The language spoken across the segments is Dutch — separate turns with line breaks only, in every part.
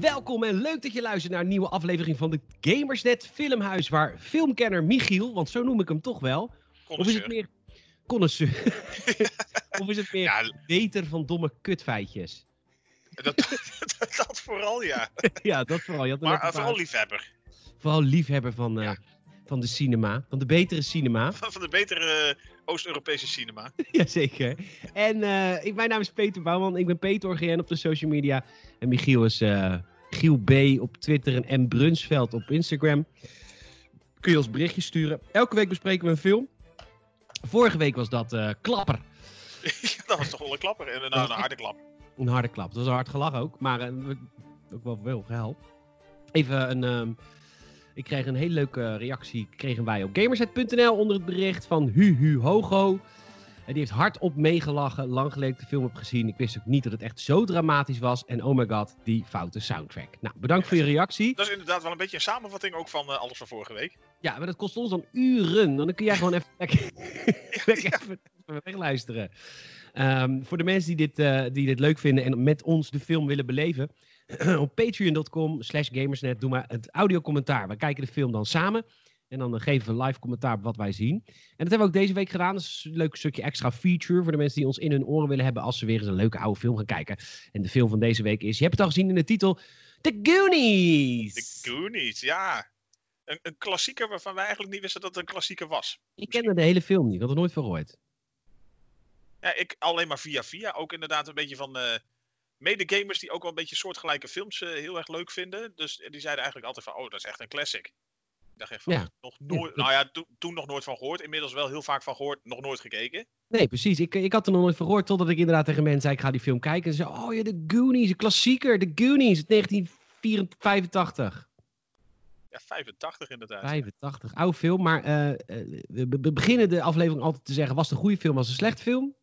welkom en leuk dat je luistert naar een nieuwe aflevering van de Gamersnet Filmhuis, waar filmkenner Michiel, want zo noem ik hem toch wel, of is het meer connoisseur? of is het meer
Ja,
beter van domme kutfeitjes?
dat, dat, dat vooral ja.
ja, dat vooral. Je had er
Maar
net een
eh, vooral
paar-
liefhebber.
vooral liefhebber van, eh,
Ja.
van de cinema, van de betere cinema.
Van van de betere eh, Oost-Europese cinema.
Jazeker. En eh, ik, mijn naam is Peter Bouwman. Ik ben Peter GN op de social media. En Michiel is eh, Giel B op Twitter en M. Brunsveld op Instagram. Kun je ons berichtjes sturen. Elke week bespreken we een film. Vorige week was dat eh, Klapper.
dat was toch wel een klapper. En nou,
Dat-
een harde klap.
Een harde klap. Dat was een hard gelach ook. Maar eh, we- ook wel veel gehuild. Even een... ehm, ik kreeg een hele leuke reactie. Kregen wij op gamerset.nl onder het bericht van Huhu Hogo. En die heeft hardop meegelachen. Lang geleden dat ik de film heb gezien. Ik wist ook niet dat het echt zo dramatisch was. En oh my god, die foute soundtrack. Nou, bedankt voor je reactie.
Dat is inderdaad wel een beetje een samenvatting ook van eh, alles van vorige week.
Ja, maar dat kost ons dan uren. Dan kun jij gewoon even lekker, lekker even, even wegluisteren. Ehm, voor de mensen die dit, eh, die dit leuk vinden en met ons de film willen beleven. op patreon.com slash gamersnet doen maar het audiocommentaar. We kijken de film dan samen. En dan eh, geven we live commentaar op wat wij zien. En dat hebben we ook deze week gedaan. Dat is een leuk stukje extra feature voor de mensen die ons in hun oren willen hebben. Als ze weer eens een leuke oude film gaan kijken. En de film van deze week is, je hebt het al gezien in de titel, The Goonies.
De Goonies, ja. Een, een klassieker waarvan wij eigenlijk niet wisten dat het een klassieker was.
Ik kende de hele film niet, ik had er nooit van gehoord.
Ja, ik alleen maar via via. Ook inderdaad een beetje van eh medegamers die ook wel een beetje soortgelijke films eh, heel erg leuk vinden. Dus die zeiden eigenlijk altijd van, oh, dat is echt een classic. Ik dacht echt van,
Ja.
nog nooit,
Ja.
nou ja, toen- toen nog nooit van gehoord. Inmiddels wel heel vaak van gehoord, nog nooit gekeken.
Nee, precies. Ik, ik had er nog nooit van gehoord totdat ik inderdaad tegen mensen zei, ik ga die film kijken. En ze zeiden, oh ja, de Goonies, een klassieker, de Goonies, uit 1985.
Ja, 85 inderdaad.
85, oude film, maar eh, eh, we we beginnen de aflevering altijd te zeggen, was het een goede film, was het een slecht film?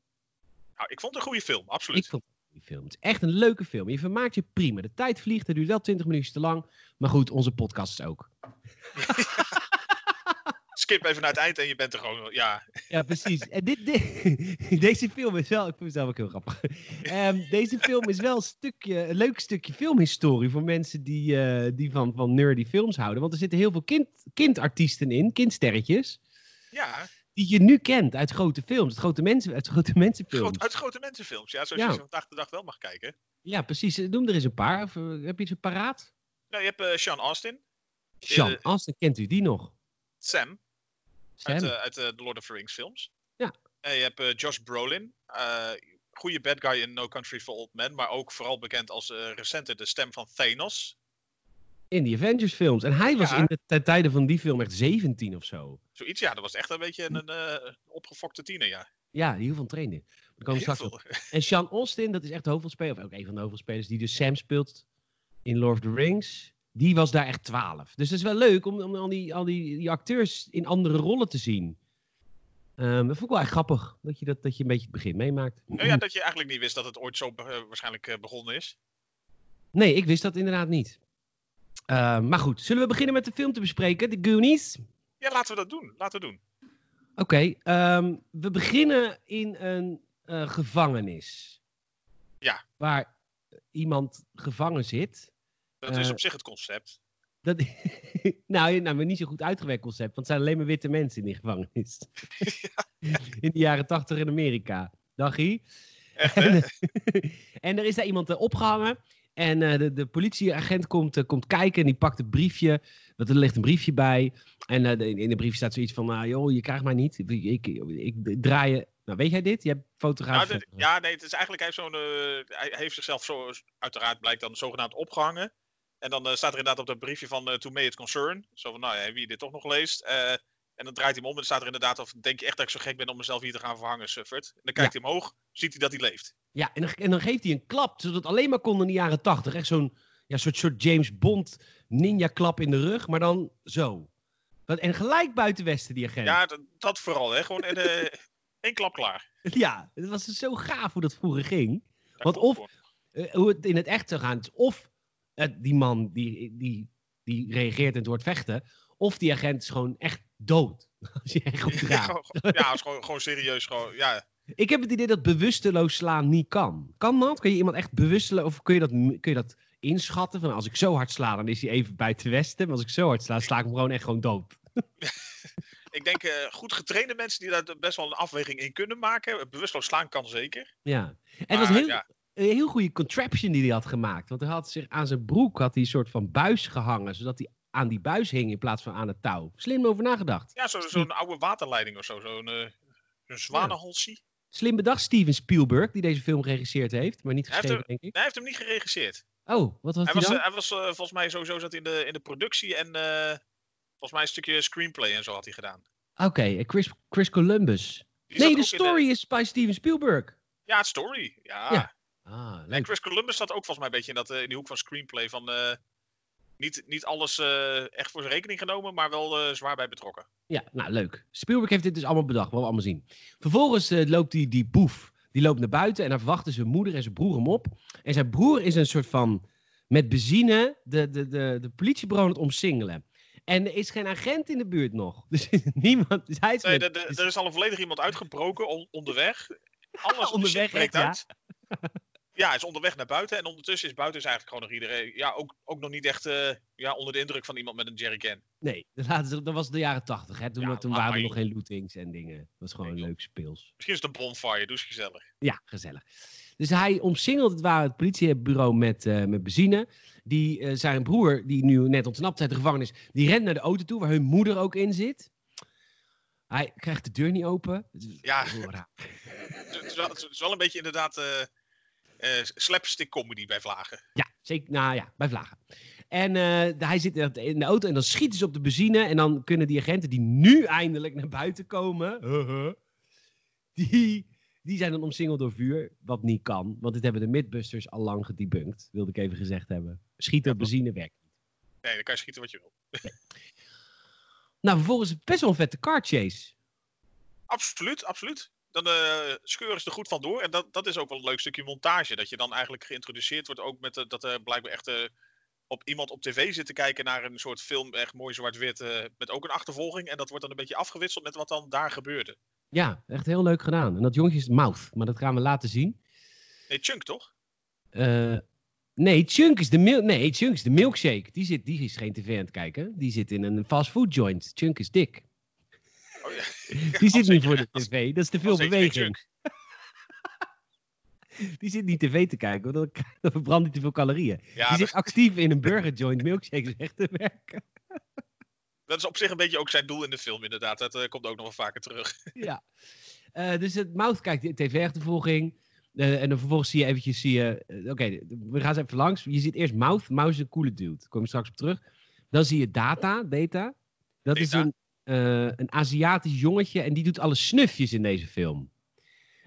Nou, ik vond het een goede film,
Ik
absoluut.
vond het een goede film. Het is echt een leuke film. Je vermaakt je prima. De tijd vliegt, het duurt wel 20 minuutjes te lang. Maar goed, onze podcast is ook.
Skip even naar het eind en je bent er gewoon. Ja,
Ja, precies. En dit, dit- deze film is wel, ik vind het zelf ook heel grappig. Ehm, deze film is wel een, stukje, een leuk stukje filmhistorie voor mensen die, eh, die van, van nerdy films houden. Want er zitten heel veel kind, kindartiesten in, kindsterretjes,
ja
die je nu kent uit grote films, uit grote, mensen, uit grote mensenfilms.
groot, uit grote mensenfilms. Ja, zoals
Ja.
je ze vandaag de dag wel mag kijken.
Ja, precies. Noem er eens een paar. Of, eh, heb je iets paraat?
Nou, je hebt eh, Sean Austin,
Sean
eh,
Astin, kent u die nog?
Sam,
Sam?
uit, eh, uit eh, de Lord of the Rings films.
Ja.
En je hebt eh, Josh Brolin, eh, goede bad guy in No Country for Old Men, maar ook vooral bekend als eh recenter de stem van Thanos.
in die Avengers films. En hij was
eh, Ja.
in de ten tijde van die film echt 17 of zo.
Zoiets, ja, dat was echt een beetje een, eh, opgefokte tiener, ja.
Ja, heel veel trainen. We komen
Heel
straks op.
veel.
En Sean Austin, dat is echt de hoofdrolspeler, of ook een van de hoofdrolspelers, die dus Sam speelt in Lord of the Rings. Die was daar echt 12. Dus het is wel leuk om, om al, die, al die, die acteurs in andere rollen te zien. Ehm, dat vond ik wel echt grappig, dat je, dat, dat je een beetje het begin meemaakt.
Nou ja, dat je eigenlijk niet wist dat het ooit zo eh, waarschijnlijk eh, begonnen is.
Nee, ik wist dat inderdaad niet. Ehm, maar goed, zullen we beginnen met de film te bespreken, The Goonies?
Ja, laten we dat doen. Laten we doen.
Oké, ehm, we beginnen in een eh, gevangenis.
Ja.
Waar iemand gevangen zit.
Dat is
Eh,
op zich het concept.
Dat, nou, nou, maar niet zo goed uitgewerkt concept, want het zijn alleen maar witte mensen in die gevangenis. In de jaren tachtig in Amerika. Dagie.
Echt, hè?
En, en er is daar iemand eh, opgehangen. En eh, de, de politieagent komt, eh, komt kijken en die pakt het briefje. Want er ligt een briefje bij. En eh, de- in de brief staat zoiets van, nou joh, je krijgt mij niet. Ik, ik, ik draai je... Nou, weet jij dit? Je hebt
Nou,
fotograaf.
dit- ja, nee, het is eigenlijk, hij heeft, zo'n, eh, hij heeft zichzelf zo, uiteraard blijkt dan zogenaamd opgehangen. En dan eh, staat er inderdaad op dat briefje van eh To May It Concern. Zo van, nou ja, wie dit toch nog leest. eh, en dan draait hij hem om en dan staat er inderdaad of denk je echt dat ik zo gek ben om mezelf hier te gaan verhangen, suffert. En dan kijkt hij omhoog, ziet hij dat hij leeft.
Ja, en dan, en dan geeft hij een klap, zodat het alleen maar kon in de jaren tachtig. Echt zo'n ja, soort, soort James Bond ninja-klap in de rug, maar dan zo. Dat- En gelijk buiten Westen, die agent. Ja,
Ja, dat, dat vooral, hè. Gewoon en, eh, één klap klaar.
het was dus zo gaaf hoe dat vroeger ging.
Daar
Want
komt
of-
voor.
Eh, hoe het in het echt zou gaan. Dus of het- die man die, die, die reageert en het wordt vechten, of die agent is gewoon echt dood. Als je echt goed
Ja,
raakt.
gewoon- ja, is gewoon, gewoon serieus. Gewoon, ja.
Ik heb het idee dat bewusteloos slaan niet kan. Kan dat? Kun je iemand echt bewusteloos, of kun je dat, kun je dat inschatten. Van als ik zo hard sla, dan is hij even bij het westen. Maar als ik zo hard sla, sla ik hem gewoon echt gewoon dood.
Ik denk eh, goed getrainde mensen die daar best wel een afweging in kunnen maken. Bewusteloos slaan kan zeker.
Ja. En dat
Maar
was heel,
Ah, ja,
een heel goede contraption die hij had gemaakt. Want hij had zich aan zijn broek had hij een soort van buis gehangen. Zodat hij aan die buis hing in plaats van aan het touw. Slim over nagedacht.
ja zo- zo'n oude waterleiding of zo. Zo'n eh, zo'n zwanenhalsie.
Slim bedacht Steven Spielberg, die deze film geregisseerd heeft. Maar niet
Hij heeft
geschreven, denk ik.
Nee, hij heeft hem niet geregisseerd.
Oh, wat was
Hij
hij
was,
dan?
eh, hij was eh, volgens mij sowieso zat in de, in de productie en eh, volgens mij een stukje screenplay en zo had hij gedaan.
Oké, eh, Chris, Chris Columbus.
Die zat
nee,
ook
de
in
story is bij Steven Spielberg.
Ja, het story. Ja.
Ja. Ah,
En
leuk.
Chris Columbus zat ook volgens mij een beetje in, dat, eh, in die hoek van screenplay. Van, eh, niet, niet alles eh, echt voor zijn rekening genomen, maar wel eh, zwaar bij betrokken.
Ja, nou leuk. Spielberg heeft dit dus allemaal bedacht, wat we allemaal zien. Vervolgens eh, loopt die, die boef, die loopt naar buiten en daar verwachten zijn moeder en zijn broer hem op. En zijn broer is een soort van, met benzine, de, de, de, de politiebureau aan het omsingelen. En er is geen agent in de buurt nog. Dus niemand, dus hij is
Nee,
met-
er- er- er is al een volledig iemand uitgebroken on- onderweg. Alles
Onderweg,
shit breekt
echt, ja.
uit. Ja, hij is onderweg naar buiten. En ondertussen is buiten is eigenlijk gewoon nog iedereen. Ja, ook, ook nog niet echt eh, ja, onder de indruk van iemand met een jerrycan.
Nee, dat, laten ze- dat was de jaren tachtig, hè. Toen,
Ja,
toen
laat
waren
maar
er
in.
nog geen lootings en dingen. Dat was gewoon
Nee, joh.
leuk speels.
Misschien is het een bonfire, doe eens gezellig.
Ja, gezellig. Dus hij omsingelt het ware het politiebureau met, eh, met benzine. Die, eh, zijn broer, die nu net ontsnapt uit de gevangenis, die rent naar de auto toe, waar hun moeder ook in zit. Hij krijgt de deur niet open. Het is
Ja.
heel raar.
Het is wel, het is wel een beetje inderdaad eh eh, slapstick comedy bij Vlagen.
Ja, zeker. Nou ja, bij vlagen. En eh, hij zit in de- in de auto en dan schieten ze op de benzine. En dan kunnen die agenten die nu eindelijk naar buiten komen. haha, die, die zijn dan omsingeld door vuur. Wat niet kan. Want dit hebben de Midbusters al lang gedebunked. Wilde ik even gezegd hebben. Schieten op benzine werkt.
Nee, dan kan je schieten wat je wil.
Nou, vervolgens is het best wel een vette car chase.
Absoluut, absoluut. Dan eh, scheuren ze er goed vandoor. En dat, dat is ook wel een leuk stukje montage. Dat je dan eigenlijk geïntroduceerd wordt ook met eh, dat er blijkbaar echt eh, op iemand op tv zit te kijken naar een soort film. Echt mooi zwart-wit. eh, met ook een achtervolging. En dat wordt dan een beetje afgewisseld met wat dan daar gebeurde.
Ja, echt heel leuk gedaan. En dat jongetje is Mouth. Maar dat gaan we laten zien.
Nee, Chunk toch?
Eh, nee, Chunk is de mil- nee, Chunk is de milkshake. Die, zit, die is geen tv aan het kijken. Die zit in een fastfood joint. Chunk is dik.
Oh, ja.
Die zit niet
zeker.
voor de tv. Dat is te veel
als ik geen
beweging. Die zit niet tv te kijken, want dan- dan verbrandt hij te veel calorieën.
Ja,
die
dat,
zit actief in een burger joint milkshake weg te werken.
dat is op zich een beetje ook zijn doel in de film inderdaad. Dat eh, komt ook nog wel vaker terug.
Ja. Eh, dus het Mouth kijkt de tv-achtervolging. Eh, en dan vervolgens zie je eventjes, zie je, eh, oké, we gaan eens even langs. Je ziet eerst Mouth. Mouth is een coole dude. Daar kom ik straks op terug. Dan zie je Data, Data. Dat is
Data.
een, eh, een Aziatisch jongetje en die doet alle snufjes in deze film.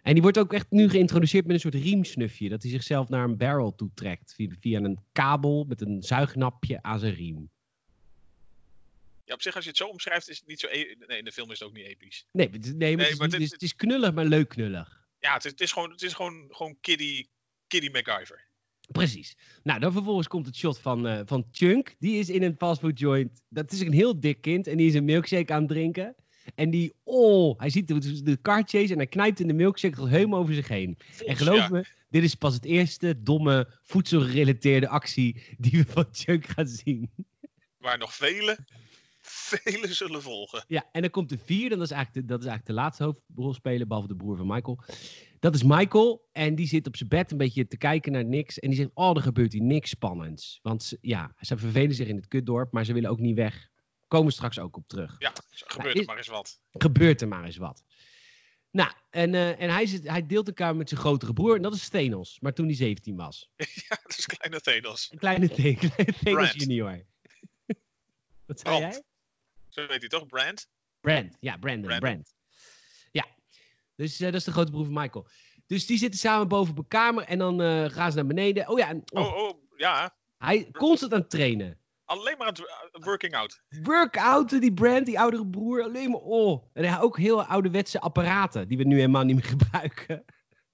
En die wordt ook echt nu geïntroduceerd met een soort riemsnufje. Dat hij zichzelf naar een barrel toe trekt. Via, via een kabel met een zuignapje aan zijn riem.
Ja, op zich als je het zo omschrijft is het niet zo... e- nee, in de film is het ook niet episch.
Nee, het is- nee, maar,
Nee,
het, is
maar
niet- het is-
dit-
het is knullig, maar leuk knullig.
Ja, het is, het is gewoon, het is gewoon, gewoon kiddie, kiddie MacGyver.
Precies. Nou, dan vervolgens komt het shot van, eh, van Chunk. Die is in een fastfood joint. Dat is een heel dik kind. En die is een milkshake aan het drinken. En die, oh, hij ziet de, de car chase en hij knijpt in de milkshake tot helemaal over zich heen. En geloof
Ja.
me, dit is pas het eerste domme voedselgerelateerde actie die we van Chunk gaan zien.
waar nog vele, vele zullen volgen.
Ja, en dan komt de vierde, en dat is eigenlijk de, dat is eigenlijk de laatste hoofdrolspeler, behalve de broer van Michael. Dat is Michael, en die zit op zijn bed een beetje te kijken naar niks. En die zegt, oh, er gebeurt hier niks spannends. Want ze- ja, ze vervelen zich in het kutdorp, maar ze willen ook niet weg. Komen we straks ook op terug.
Ja, zo gebeurt
is-
er maar eens wat.
Gebeurt er maar eens wat. Nou, en, eh, en hij, zit, hij deelt de kamer met zijn grotere broer, en dat is Stenos. Maar toen hij 17 was.
Ja, dat is kleine Thenos.
Een kleine teken, Stenos
Brand.
junior. Wat zei
Brand.
jij?
Zo heet hij toch, Brand?
Brand, ja, Brandon,
Brandon.
Brand. Ja, dus eh, dat is de grote broer van Michael. Dus die zitten samen boven op een kamer en dan eh, gaan ze naar beneden. Oh ja, en, oh,
Oh, oh, ja.
hij is constant aan het trainen.
Alleen maar aan het eh, working out.
Workouten, die Brand, die oudere broer, alleen maar oh. En hij ook heel ouderwetse apparaten die we nu helemaal niet meer gebruiken.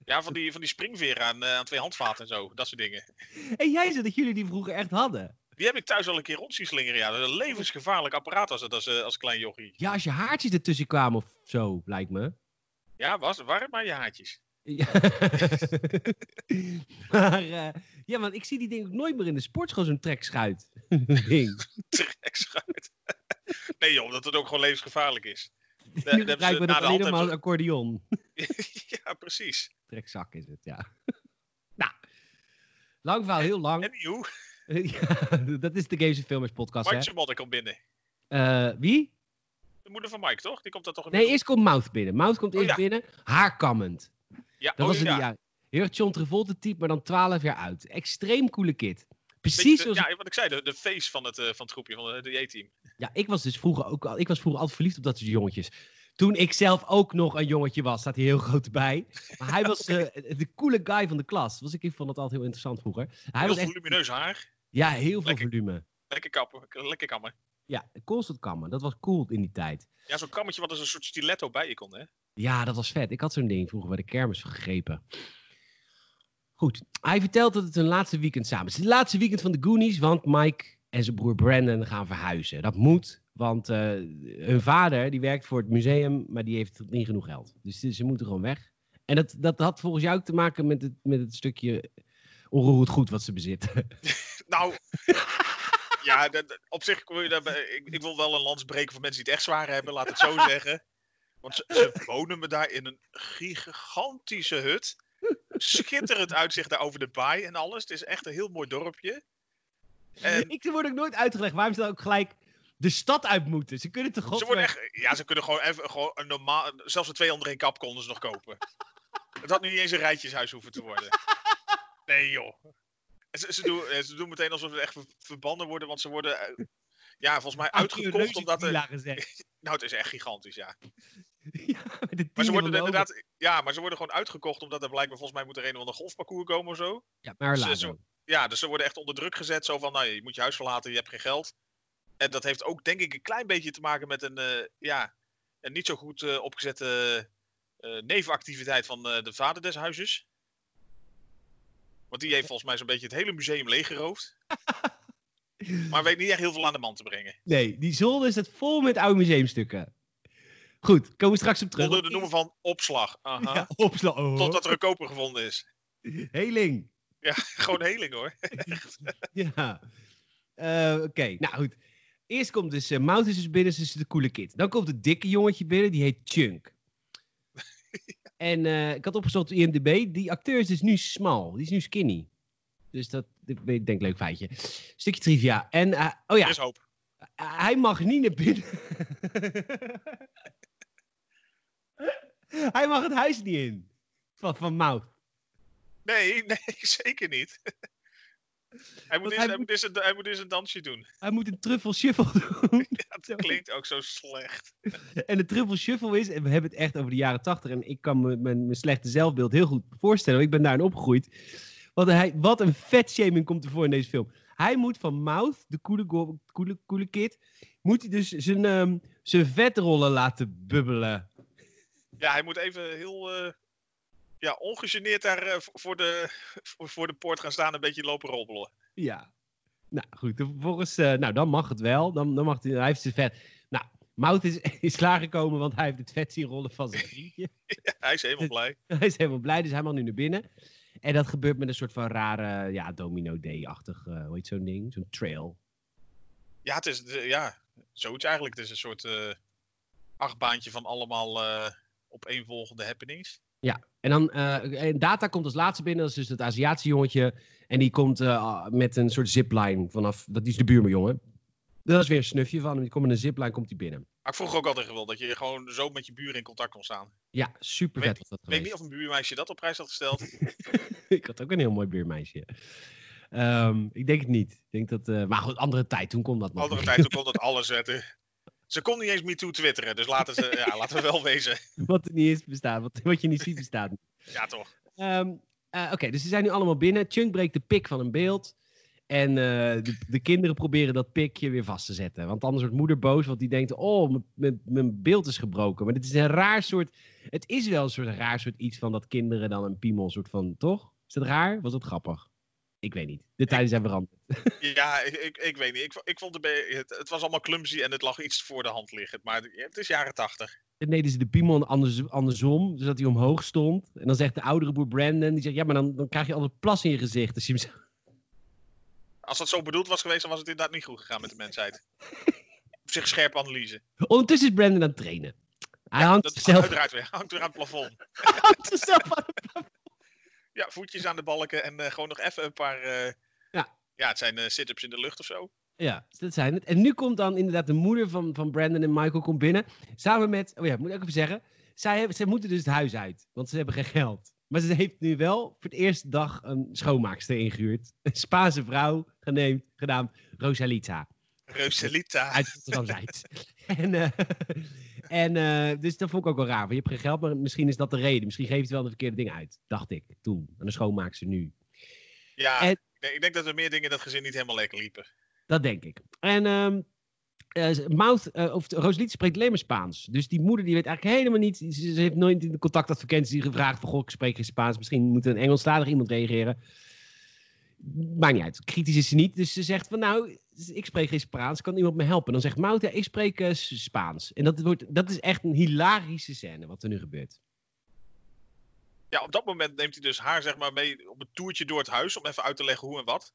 Ja, van die, van die springveren aan, eh, aan twee handvaten en zo. Dat soort dingen.
En jij zei dat jullie die vroeger echt hadden.
Die heb ik thuis al een keer rond zien slingeren. Ja, dat is een levensgevaarlijk apparaat was dat als, eh, als klein jochie.
Ja, als je haartjes ertussen kwamen of zo, lijkt me.
Ja, was, waren maar je haartjes.
Ja. maar eh, ja, want ik zie die ding ook nooit meer in de sportschool, zo'n trekschuit. ding.
trekschuit. nee joh, dat het ook gewoon levensgevaarlijk is.
Die
hebben ze
gebruiken we
na
dat
de
alleen nog
hand
maar als
hebben
accordeon.
ja, precies.
Trekzak is het, ja. nou, lang verhaal, heel lang.
Anywho,
ja, dat is de Games en Filmers podcast, hè.
Martje Modder komt binnen.
Eh, wie?
De moeder van Mike, toch? Die komt dat toch
Nee, eerst komt Mouth binnen. Mouth komt
Oh,
eerst
ja.
binnen, haarkammend.
Ja,
Dat
oh,
was in
ja.
de jaren. Heel erg John Travolta type, maar dan 12 jaar oud. Extreem coole kid.
Beetje
Precies
de-
zoals... Ja.
ja, wat ik zei, de, de face van het, eh, van het groepje, van het E-team.
ik was dus vroeger ook al... Ik was vroeger altijd verliefd op dat soort jongetjes. Toen ik zelf ook nog een jongetje was, staat hij heel groot bij. Maar hij was eh, de coole guy van de klas. Was ik, ik vond dat altijd heel interessant vroeger. Hij
Heel
was echt,
volumineus haar.
ja, heel veel
Lekker.
volume.
Lekker kappen, lekker kammen.
Ja, constant kammen. Dat was cool in die tijd.
Ja, zo'n kammetje wat als een soort stiletto bij je kon, hè?
Ja, dat was vet. Ik had zo'n ding vroeger bij de kermis gegrepen. Goed, hij vertelt dat het hun laatste weekend samen is. Het laatste weekend van de Goonies, want Mike en zijn broer Brandon gaan verhuizen. Dat moet, want eh, hun vader die werkt voor het museum, maar die heeft niet genoeg geld. Dus ze ze moeten gewoon weg. En dat, dat had volgens jou ook te maken met het, met het stukje onroerend goed wat ze bezitten.
Nou, ja, dat- dat- op zich wil je daarbij. Ik, ik wil wel een lans breken voor mensen die het echt zwaar hebben, laat het zo zeggen. Want ze, ze wonen me daar in een gigantische hut. Schitterend uitzicht daar over de baai en alles. Het is echt een heel mooi dorpje. En
Ik word ook nooit uitgelegd waarom ze dan ook gelijk de stad uit moeten. Ze kunnen toch
ze worden
godver-
echt, ja, ze kunnen gewoon even gewoon een normaal. Zelfs de twee onder één kap konden ze nog kopen. Het had nu niet eens een rijtjeshuis hoeven te worden. Nee, joh. En Ze, ze, doen, eh, ze doen meteen alsof ze echt ver- verbannen worden, want ze worden. eh, Ja, volgens mij uitgekocht omdat er.
Villa gezegd.
Nou, het is echt gigantisch, ja.
Ja, met de
Maar ze
tienen
worden
van de
inderdaad, ja, maar ze worden gewoon uitgekocht omdat er blijkbaar volgens mij moet er een of ander golfparcours komen of zo.
Ja, maar
Ze-
later.
ze- Ja, dus ze worden echt onder druk gezet. Zo van, nou, je moet je huis verlaten, je hebt geen geld. En dat heeft ook denk ik een klein beetje te maken met een, eh, ja, een niet zo goed eh, opgezette eh, nevenactiviteit van eh, de vader des huizes. Want die heeft volgens mij zo'n beetje het hele museum leeggeroofd. Maar weet niet echt heel veel aan de man te brengen.
Nee, die zolder is het vol met oude museumstukken. Goed, komen we straks op terug.
Onder de noemer van opslag. Aha.
Ja, opslag. Oh.
Totdat er een koper gevonden is.
Heling.
Gewoon heling hoor.
Ja. Eh, Oké, nou goed. Eerst komt dus eh Mout is dus binnen, ze is de coole kid. Dan komt het dikke jongetje binnen, die heet Chunk. En eh, ik had opgezocht op IMDb, die acteur is dus nu smal, die is nu skinny. Dus dat, ik denk ik, leuk feitje. Stukje trivia. En, eh, oh ja,
Er is hoop.
Hij mag niet naar binnen. Hij mag het huis niet in. Van, van Mouth.
Nee, nee, zeker niet. hij, moet
Want
eens,
hij moet-
hij, moet eens een, hij moet eens een dansje doen.
Hij moet een truffel shuffle doen.
Dat klinkt ook zo slecht.
En de truffel shuffle is, en we hebben het echt over de jaren tachtig. En ik kan me mijn, mijn slechte zelfbeeld heel goed voorstellen. Want ik ben daarin opgegroeid. Want hij, wat een vetshaming komt ervoor in deze film. Hij moet van Mouth, de coole, go- coole, coole kid, moet hij dus zijn, ehm, zijn vetrollen laten bubbelen.
Ja, hij moet even heel eh, ja, ongegeneerd daar eh, voor, voor de, voor, voor de poort gaan staan en een beetje lopen robbelen.
Ja. Nou goed, dan vervolgens, eh, nou dan mag het wel. Dan, dan mag hij, hij heeft zijn vet. Nou, Mout is, is klaargekomen, want hij heeft het vet zien rollen van zijn vriendje.
Ja, hij is helemaal blij.
hij is helemaal blij, dus hij mag nu naar binnen. En dat gebeurt met een soort van rare, ja, domino day-achtig, eh, hoe heet zo'n ding? Zo'n trail.
Ja, het is eh, ja, zoiets eigenlijk. Het is een soort eh, achtbaantje van allemaal eh opeenvolgende happenings.
En dan, eh, en Data komt als laatste binnen, dat is dus dat Aziatische jongetje. En die komt eh, met een soort zipline vanaf, dat die is de buurman, Dat is weer een snufje van hem, die komt met een zipline, komt hij binnen.
Maar ik vroeg ook altijd wel dat je gewoon zo met je buren in contact kon staan.
Ja, super vet was dat
Ik weet
geweest.
niet of een buurmeisje dat op prijs had gesteld.
ik had ook een heel mooi buurmeisje. Ehm, ik denk het niet. Ik denk dat, eh, maar goed, andere tijd, toen kon dat nog.
Andere tijd toen kon dat alles zetten. Ze kon niet eens MeToo twitteren, dus laten, ze, ja, laten we wel wezen.
Wat er niet is bestaat, wat, wat je niet ziet bestaat niet.
Ja, toch.
Ehm, eh, Oké, dus ze zijn nu allemaal binnen. Chunk breekt de pik van een beeld. En eh, de, de kinderen proberen dat pikje weer vast te zetten. Want anders wordt moeder boos, want die denkt... Oh, mijn- mijn- mijn beeld is gebroken. Maar dit is een raar soort... Het is wel een soort raar soort iets van dat kinderen dan een piemel soort van... Toch? Is dat raar? Was dat grappig? Ik weet niet. De tijden zijn veranderd.
Ja, ik, ik, ik weet niet. Ik, ik vond het, be- het, het was allemaal clumsy en het lag iets voor de hand liggend. Maar het is jaren tachtig.
Dan deden ze dus de piemon anders, andersom, zodat hij omhoog stond. En dan zegt de oudere boer Brandon, die zegt, ja, maar dan, dan krijg je altijd plas in je gezicht. als je hem zo-
Als dat zo bedoeld was geweest, dan was het inderdaad niet goed gegaan met de mensheid. Op zich scherp analyse.
Ondertussen is Brandon aan het trainen. Hij hangt,
Dat
zichzelf,
uiteraard weer. Hangt weer aan het plafond.
hangt zichzelf aan.
Ja, voetjes aan de balken en eh, gewoon nog even een paar. eh,
Ja.
ja, het zijn eh, sit-ups in de lucht of zo.
Ja, dat zijn het. En nu komt dan inderdaad de moeder van, van Brandon en Michael komt binnen. Samen met, oh ja, moet ik ook even zeggen. Zij, hebben- zij moeten dus het huis uit, want ze hebben geen geld. Maar ze heeft nu wel voor de eerste dag een schoonmaakster ingehuurd. Een Spaanse vrouw, geneemd, genaamd Rosalita.
Reuselita.
Uit Rotterdam-Zuid. en eh, en eh, dus dat vond ik ook wel raar. Want je hebt geen geld, maar misschien is dat de reden. Misschien geeft het wel de verkeerde dingen uit, dacht ik toen. En de schoonmaakster nu.
Ja,
En-
ik, denk, ik denk dat er meer dingen in dat gezin niet helemaal lekker liepen.
Dat denk ik. En ehm eh, Mouth, eh, of Rosaliet spreekt alleen maar Spaans. Dus die moeder die weet eigenlijk helemaal niet. Ze, ze heeft nooit in de contactadvertentie gevraagd van... Goh, ik spreek geen Spaans. Misschien moet een Engelstalig iemand reageren. Maakt niet uit. Kritisch is ze niet. Dus ze zegt van nou, ik spreek geen Spaans. Kan iemand me helpen? En dan zegt Mouth, ja, ik spreek eh, S- Spaans. En dat, wordt, dat is echt een hilarische scène wat er nu gebeurt.
Ja, op dat moment neemt hij dus haar zeg maar mee op een toertje door het huis om even uit te leggen hoe en wat.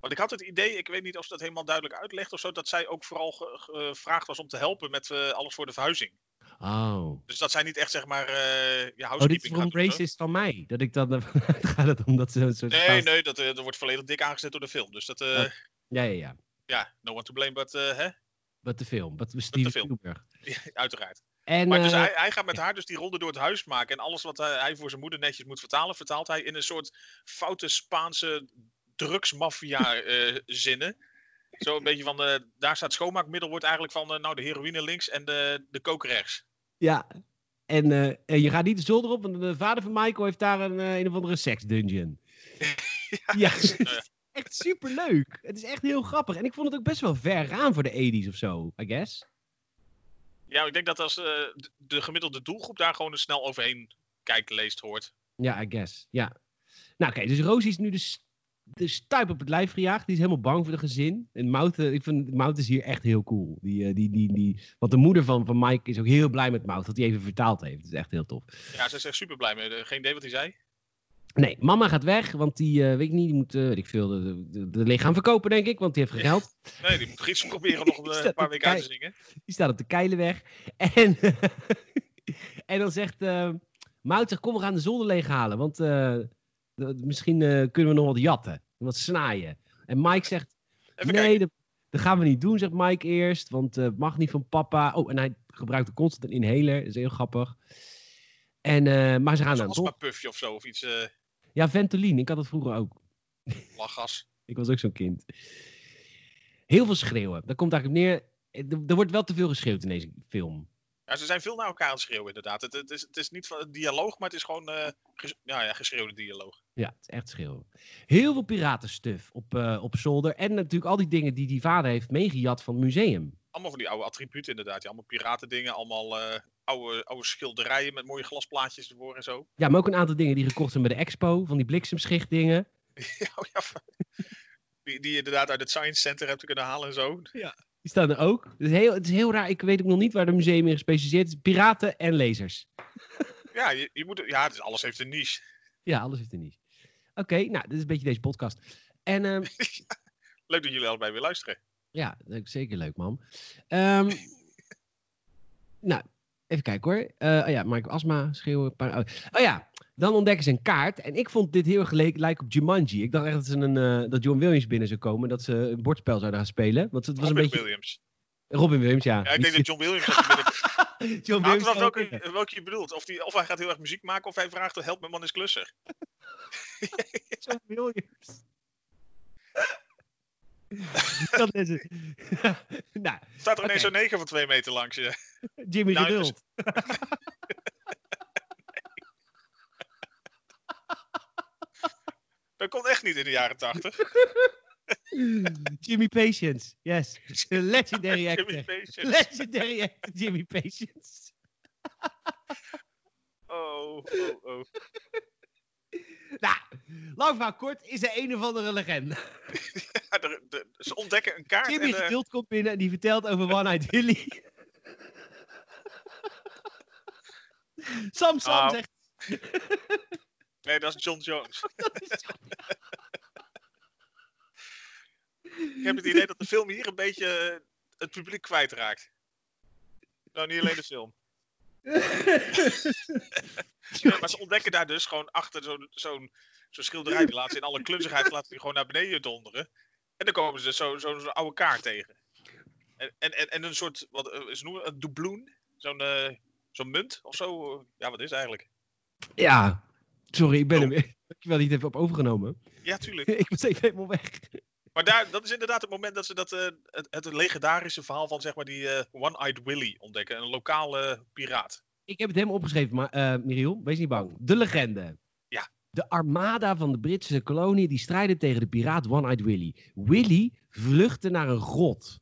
Want ik had het idee, ik weet niet of ze dat helemaal duidelijk uitlegt of zo, dat zij ook vooral ge- gevraagd was om te helpen met eh, alles voor de verhuizing.
Oh.
Dus dat zij niet echt zeg maar eh ja,
Oh, dit is
housekeeping
voor een
gaat doen, hoor.
racist van mij. Dat ik dan ervan uitga dus dat Oh. omdat ze een soort
Nee,
Spaans-
nee, dat, eh, dat wordt volledig dik aangezet door de film. Dus dat, eh,
Ja. Ja, ja, ja.
ja, no one to blame, but, eh, hè?
Wat de film. Wat Steven
film.
Spielberg.
uiteraard.
En,
Maar dus
eh,
hij, hij gaat met haar dus die ronde door het huis maken. En alles wat hij, hij voor zijn moeder netjes moet vertalen, vertaalt hij in een soort foute Spaanse drugsmafia-zinnen. Zo een beetje van, eh, daar staat schoonmaakmiddel, wordt eigenlijk van, eh, nou, de heroïne links en de, de kook rechts.
Ja. En, eh, en je gaat niet de zolder op, want de vader van Michael heeft daar een, eh, een of andere seksdungeon. ja. het
nou ja.
is echt superleuk. Het is echt heel grappig. En ik vond het ook best wel ver gaan voor de 80s of zo, I guess.
Ja, ik denk dat als eh, de- de gemiddelde doelgroep daar gewoon er snel overheen kijkt, leest, hoort.
Ja, I guess. Ja. Nou, oké. dus Rosie is nu de, s- de stuip op het lijf gejaagd. Die is helemaal bang voor de gezin. En Mouten, ik vind Mout is hier echt heel cool. Die, eh, die, die, die, want de moeder van, van Mike is ook heel blij met Mout. Dat hij even vertaald heeft. Dat is echt heel tof.
Ja, ze is echt super blij mee. Eh, Geen idee wat hij zei.
Nee, mama gaat weg, want die, eh, weet ik niet, die moet, eh, weet ik veel, de, de, de lichaam verkopen, denk ik, want die heeft geen geld.
Nee, die moet Grieks proberen nog
Is
eh, een
dat
paar
een
weken uit te
kei-
zingen.
Die staat op de Keilenweg. En, en dan zegt eh Mout, zegt, kom, we gaan de zolder leeghalen, want eh, d- misschien eh, kunnen we nog wat jatten, wat snaaien. En Mike zegt,
Even kijken.
nee, dat, dat gaan we niet doen, zegt Mike eerst. Want eh, het mag niet van papa. Oh, en hij gebruikt constant een inhaler. Dat is heel grappig. En, eh, maar ze gaan
Zo'n
dan toch.
astmapuffje of zo, of iets eh
Ja, Ventoline. Ik had dat vroeger ook.
lachgas.
Ik was ook zo'n kind. Heel veel schreeuwen. Daar komt eigenlijk op neer. Eh, Er- Er wordt wel te veel geschreeuwd in deze film.
Ja, ze zijn veel naar elkaar aan het schreeuwen, inderdaad. Het, het, is, het is niet van een dialoog, maar het is gewoon eh ges- ja, ja, geschreeuwde dialoog.
Ja, het is echt schreeuwen. Heel veel piratenstuf op, eh, op zolder. En natuurlijk al die dingen die die vader heeft meegejat van het museum.
Allemaal van die oude attributen, inderdaad. Ja, allemaal piratendingen, allemaal eh, oude, oude schilderijen met mooie glasplaatjes ervoor en zo.
Ja, maar ook een aantal dingen die gekocht zijn bij de expo. Van die bliksemschichtdingen.
ja, oh ja, van- die, die je inderdaad uit het Science Center hebt kunnen halen en zo. Ja.
Die staan er ook. Het is heel, het is heel raar. Ik weet ook nog niet waar het museum in gespecialiseerd is. Piraten en lezers.
Ja, je, je moet, ja dus alles heeft een niche.
Ja, alles is er niet. Oké, nou, dit is een beetje deze podcast. En ehm,
Leuk dat jullie allebei weer luisteren.
Ja, leuk, zeker leuk, man. Ehm, nou, even kijken hoor. Eh, oh ja, Michael Asma, schreeuwen. Paar, oh, oh ja, dan ontdekken ze een kaart. En ik vond dit heel erg gelijk lijken op Jumanji. Ik dacht echt dat, ze een, eh, dat John Williams binnen zou komen. Dat ze een bordspel zouden gaan spelen. Want het was
Robin
een beetje...
Williams.
Robin Williams, ja.
Ja,
Die
ik denk dat John Williams dat binnen...
zit- John
Hangt
Williams
vanaf
zou ook
welke, welke je bedoelt. Of, die, of hij gaat heel erg muziek maken, of hij vraagt, help mijn man is klusser.
John Williams. dat is het. nou,
Staat er
Oké.
ineens zo'n negen van twee meter langs je.
Jimmy
Nou,
Geduld.
Dat komt echt niet in de jaren tachtig.
Jimmy Patience, yes. Legendary
Jimmy
actor.
Page.
Legendary actor Jimmy Patience.
Oh, oh, oh.
Nou, Lang verhaal kort, is er een of andere legende.
Ja, er- er- ze ontdekken een kaart.
Jimmy
en, eh,
Geduld komt binnen en die vertelt over One Night Willy. Sam Sam
Nou.
zegt...
nee, dat is John Jones.
Dat is Sam.
Ik heb het idee dat de film hier een beetje eh, het publiek kwijtraakt. Nou, niet alleen de film. Nee, maar ze ontdekken daar dus gewoon achter zo'n zo'n zo'n schilderij. Die laten ze in alle klunzigheid laten die gewoon naar beneden donderen. En dan komen ze dus zo'n zo, zo'n oude kaart tegen. En, en, en, en een soort, wat eh, ze noemen, een doubloen. Zo'n eh, zo'n munt of zo. Ja, wat is het eigenlijk?
ja, sorry, ik ben hem weer. Dankjewel dat je het even op overgenomen.
Ja, tuurlijk.
ik was even helemaal weg.
Maar daar, dat is inderdaad het moment dat ze dat, eh, het, het legendarische verhaal van zeg maar, die eh, One-Eyed Willy ontdekken. Een lokale piraat.
Ik heb het helemaal opgeschreven, maar eh Miriel, wees niet bang. De legende.
Ja.
De armada van de Britse kolonie die strijden tegen de piraat One-Eyed Willy. Willy vluchtte naar een grot.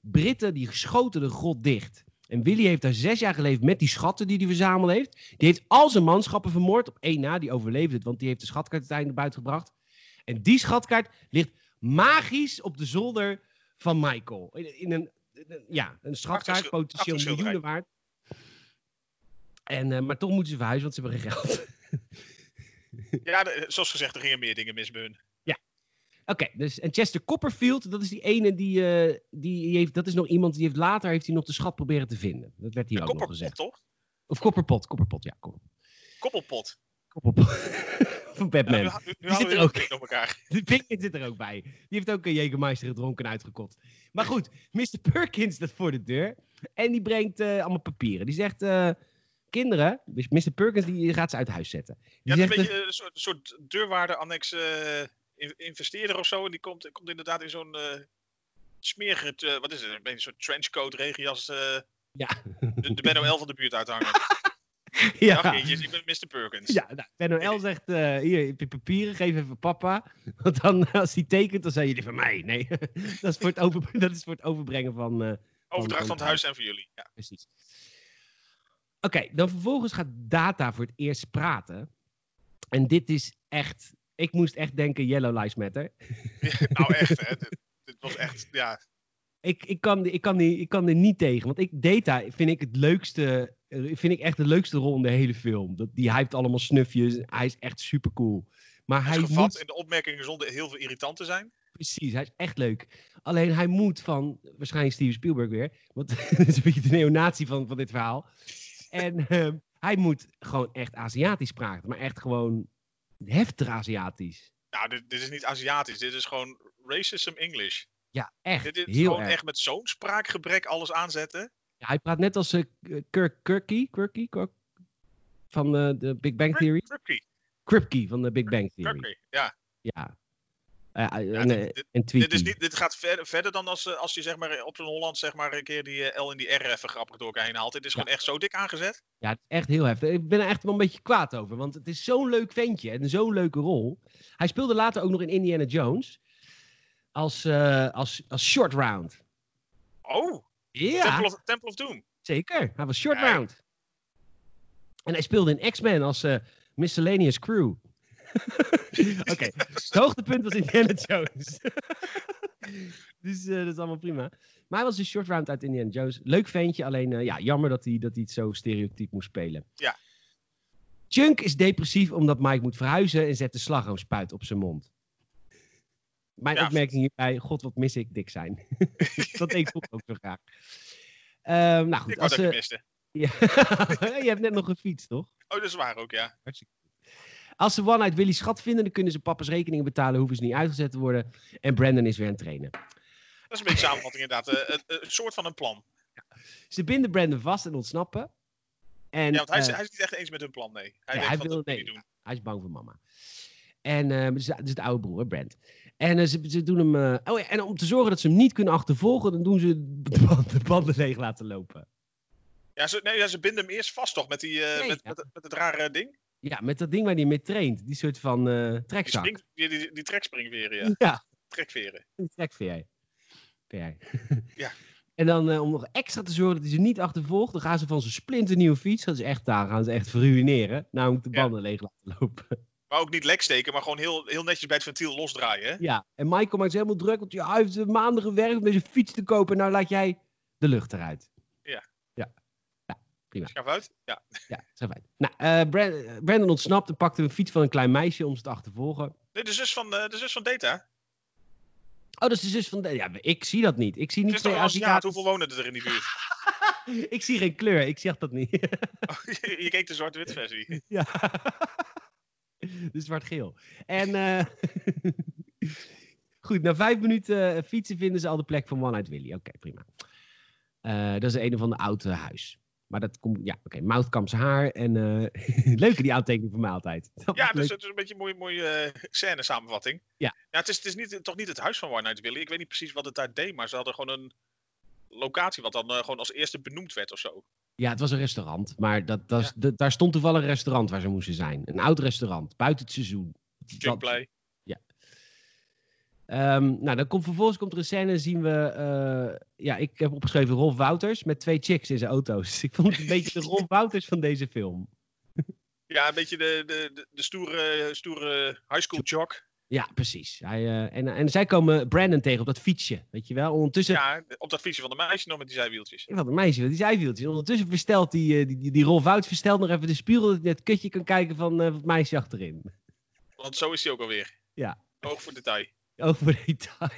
Britten die schoten de grot dicht. En Willy heeft daar zes jaar geleefd met die schatten die hij verzameld heeft. Die heeft al zijn manschappen vermoord. Op één na, die overleefde het, want die heeft de schatkaart uiteindelijk buiten gebracht. En die schatkaart ligt magisch op de zolder van Michael. In, in een, in een- ja, een schatkaart,
Prachtig schil-
potentieel
prachtig schilderij.
miljoenen waard. En, eh, maar toch moeten ze verhuizen, want ze hebben geen geld.
Ja, de- zoals gezegd, er gingen meer dingen mis bij hun.
Oké, dus en Chester Copperfield, dat is die ene die, eh, die heeft, dat is nog iemand die heeft later heeft hij nog de schat proberen te vinden. Dat werd hier
Een
ook nog
kopperpot,
gezegd.
toch?
Of Copperpot, Copperpot, ja, Copperpot.
Koppelpot.
Copperpot. Van
Ja,
Batman.
nu ha- nu, nu
zit
houden we
er
heel
ook.
veel op elkaar.
De Pinkett zit er ook bij. Die heeft ook een Jägermeister gedronken en uitgekot. Maar goed, Mr. Perkins staat voor de deur. En die brengt eh, allemaal papieren. Die zegt, eh, kinderen, dus Mr. Perkins die gaat ze uit huis zetten. Die
Ja, het is
zegt, dus-
een beetje eh, een soort, soort deurwaarde-annex eh, in- investeerder of zo. En die komt, komt inderdaad in zo'n eh smerige, eh, wat is het, een beetje een soort trenchcoat, regenjas. eh,
Ja.
De, de Benno L van de buurt uithangen.
eh,
Ja.
ja,
Dag, kindjes, ik ben Mr. Perkins.
ja nou, Benno L zegt, eh, hier, heb je papieren, geef even papa. Want dan, eh, als hij tekent, dan zijn jullie van mij. Nee, dat is voor het, over, dat is voor het overbrengen van... eh,
Overdracht van het huis en voor jullie. Ja.
precies. Oké, dan vervolgens gaat Data voor het eerst praten. En dit is echt. Ik moest echt denken: Yellow Lives Matter.
Nou, echt, hè. Dit, dit was echt, ja.
Ik, ik, kan, ik, kan, die- ik kan er niet tegen. Want ik, Data vind ik het leukste. eh, Vind ik echt de leukste rol in de hele film. Dat, die hij heeft allemaal snufjes. Hij is echt super cool. Maar
Hij
hij
is gevat
moet,
in de opmerkingen zonder heel veel irritant te zijn.
Precies, hij is echt leuk. Alleen hij moet van, waarschijnlijk Steven Spielberg weer, want dat is een beetje de neonatie van, van dit verhaal. En ehm, hij moet gewoon echt Aziatisch praten, maar echt gewoon heftig Aziatisch.
Nou, dit, dit is niet Aziatisch. Dit is gewoon racism English.
Ja, echt.
Dit is
heel
gewoon
erg.
echt met zo'n spraakgebrek alles aanzetten.
Ja, hij praat net als eh, Kirk, Kirky, Kirky, Kirk- van eh, de Big Bang Theory.
Kripke,
Kripke van de Big Bang Theory.
Kripke, Ja,
Ja. Eh, eh,
Ja,
en,
dit-
eh,
dit-
en
dit, is
Tweety.
niet, dit gaat ver- verder dan als, eh, als je zeg maar, op zo'n Holland zeg maar, een keer die eh, L en die R even grappig door elkaar heen haalt. Dit is
Ja.
gewoon echt zo dik aangezet.
Ja, het is echt heel heftig. Ik ben er echt wel een beetje kwaad over. Want het is zo'n leuk ventje en zo'n leuke rol. Hij speelde later ook nog in Indiana Jones. Als, eh, als, als short round.
Oh, Temple,
Ja,
of, Temple of Doom.
zeker. Hij was short
Ja.
round. En hij speelde in X-Men als eh, miscellaneous crew. Oké, het hoogtepunt was Indiana Jones. dus eh, dat is allemaal prima. Maar hij was een short round uit Indiana Jones. Leuk ventje, alleen eh, ja, jammer dat hij, dat hij het zo stereotyp moest spelen.
Ja.
Chunk is depressief omdat Mike moet verhuizen en zet de slagroomspuit op zijn mond. Mijn
Ja.
opmerking hierbij, god wat mis ik dik zijn. dat deed ik vroeger ook zo graag. Ehm, nou goed,
Ik wou
als,
dat je
eh,
miste.
ja. je hebt net nog gefietst, toch?
Oh, dat is waar ook, ja.
Als ze One Night Willy's schat vinden, dan kunnen ze papa's rekeningen betalen, hoeven ze niet uitgezet te worden. En Brandon is weer aan het trainen.
Dat is een beetje samenvatting inderdaad. Eh, een- een soort van een plan.
Ze binden Brandon vast en ontsnappen. En,
Ja, want hij is,
eh,
hij is niet echt eens met hun plan, nee. Hij
Ja,
denkt
hij
van,
wil-
dat moet
nee.
ik niet doen.
hij is bang voor mama. En eh, dus, dus de oude broer, hè, Brand. En eh, ze, ze doen hem. eh, oh ja, en om te zorgen dat ze hem niet kunnen achtervolgen, dan doen ze de banden, de banden leeg laten lopen.
Ja, ze, nee, ja, ze binden hem eerst vast toch met, die, eh,
Nee,
met,
ja.
met, met het rare ding.
Ja, met dat ding waar hij mee traint. Die soort van eh
Die,
trekzak.
spring, die, die, die trekspringveren, ja.
ja,
Trekveren.
Een trek voor jij. Voor jij.
Ja.
En dan eh, om nog extra te zorgen dat hij ze niet achtervolgt, dan gaan ze van zijn splinternieuwe fiets, dat is echt daar, gaan ze echt verruineren, namelijk de
Ja.
banden leeg laten lopen.
Maar ook niet lek steken, maar gewoon heel, heel netjes bij het ventiel losdraaien. Hè?
Ja, en Michael maakt zich helemaal druk, want ja, hij heeft maanden gewerkt om deze fiets te kopen. Nou laat jij de lucht eruit.
Ja.
Ja, ja prima.
Schaaf uit? Ja.
Ja, zo fijn. Nou, eh, Brand- Brandon ontsnapt en pakte een fiets van een klein meisje om ze te achtervolgen.
Nee, de zus van, eh, de zus van Data.
Oh, dat is de zus van... De... Ja, ik zie dat niet. Ik zie
Het
niet
is toch
twee
een Aziat?
Aziaten.
Hoeveel wonen er in die buurt?
Ik zie geen kleur. Ik zeg dat niet.
Oh, je keek de zwart-wit versie.
ja. Dus zwart-geel. En... eh, Goed, na vijf minuten eh, fietsen vinden ze al de plek van One Night Willy. Oké, prima. Eh, dat is een of ander oud eh, huis. Maar dat komt... Ja, oké. Mouth kampt zijn haar. En eh leuk die aantekening van mij altijd. Dat
Ja,
was
dus
leuk.
het is een beetje een mooie, mooie scène samenvatting.
Ja.
het is, het is niet, toch niet het huis van One Night Willy. Ik weet niet precies wat het daar deed, maar ze hadden gewoon een locatie wat dan eh, gewoon als eerste benoemd werd of zo.
Ja, het was een restaurant. Maar dat, dat, is- dat- daar stond toevallig een restaurant waar ze moesten zijn. Een oud restaurant, buiten het seizoen. Dat-
Junkplay.
Ehm, nou, dan komt vervolgens komt er een scène en zien we... eh, ja, ik heb opgeschreven Rolf Wouters met twee chicks in zijn auto's. Ik vond het een beetje de Rolf Wouters van deze film.
Ja, een beetje de, de, de, de stoere, stoere high school jock.
Ja, precies. Hij, eh, en, en zij komen Brandon tegen op dat fietsje, weet je wel. Ondertussen...
Ja, op dat fietsje van de meisje nog met die zijwieltjes.
Wat een meisje, wat die zijwieltjes. Ondertussen verstelt die, eh, die, die, die Rolf Wouters verstelt nog even de spiegel... dat hij net kutje kan kijken van eh, het meisje achterin.
Want zo is hij ook alweer.
Ja.
Oog voor detail.
over detail.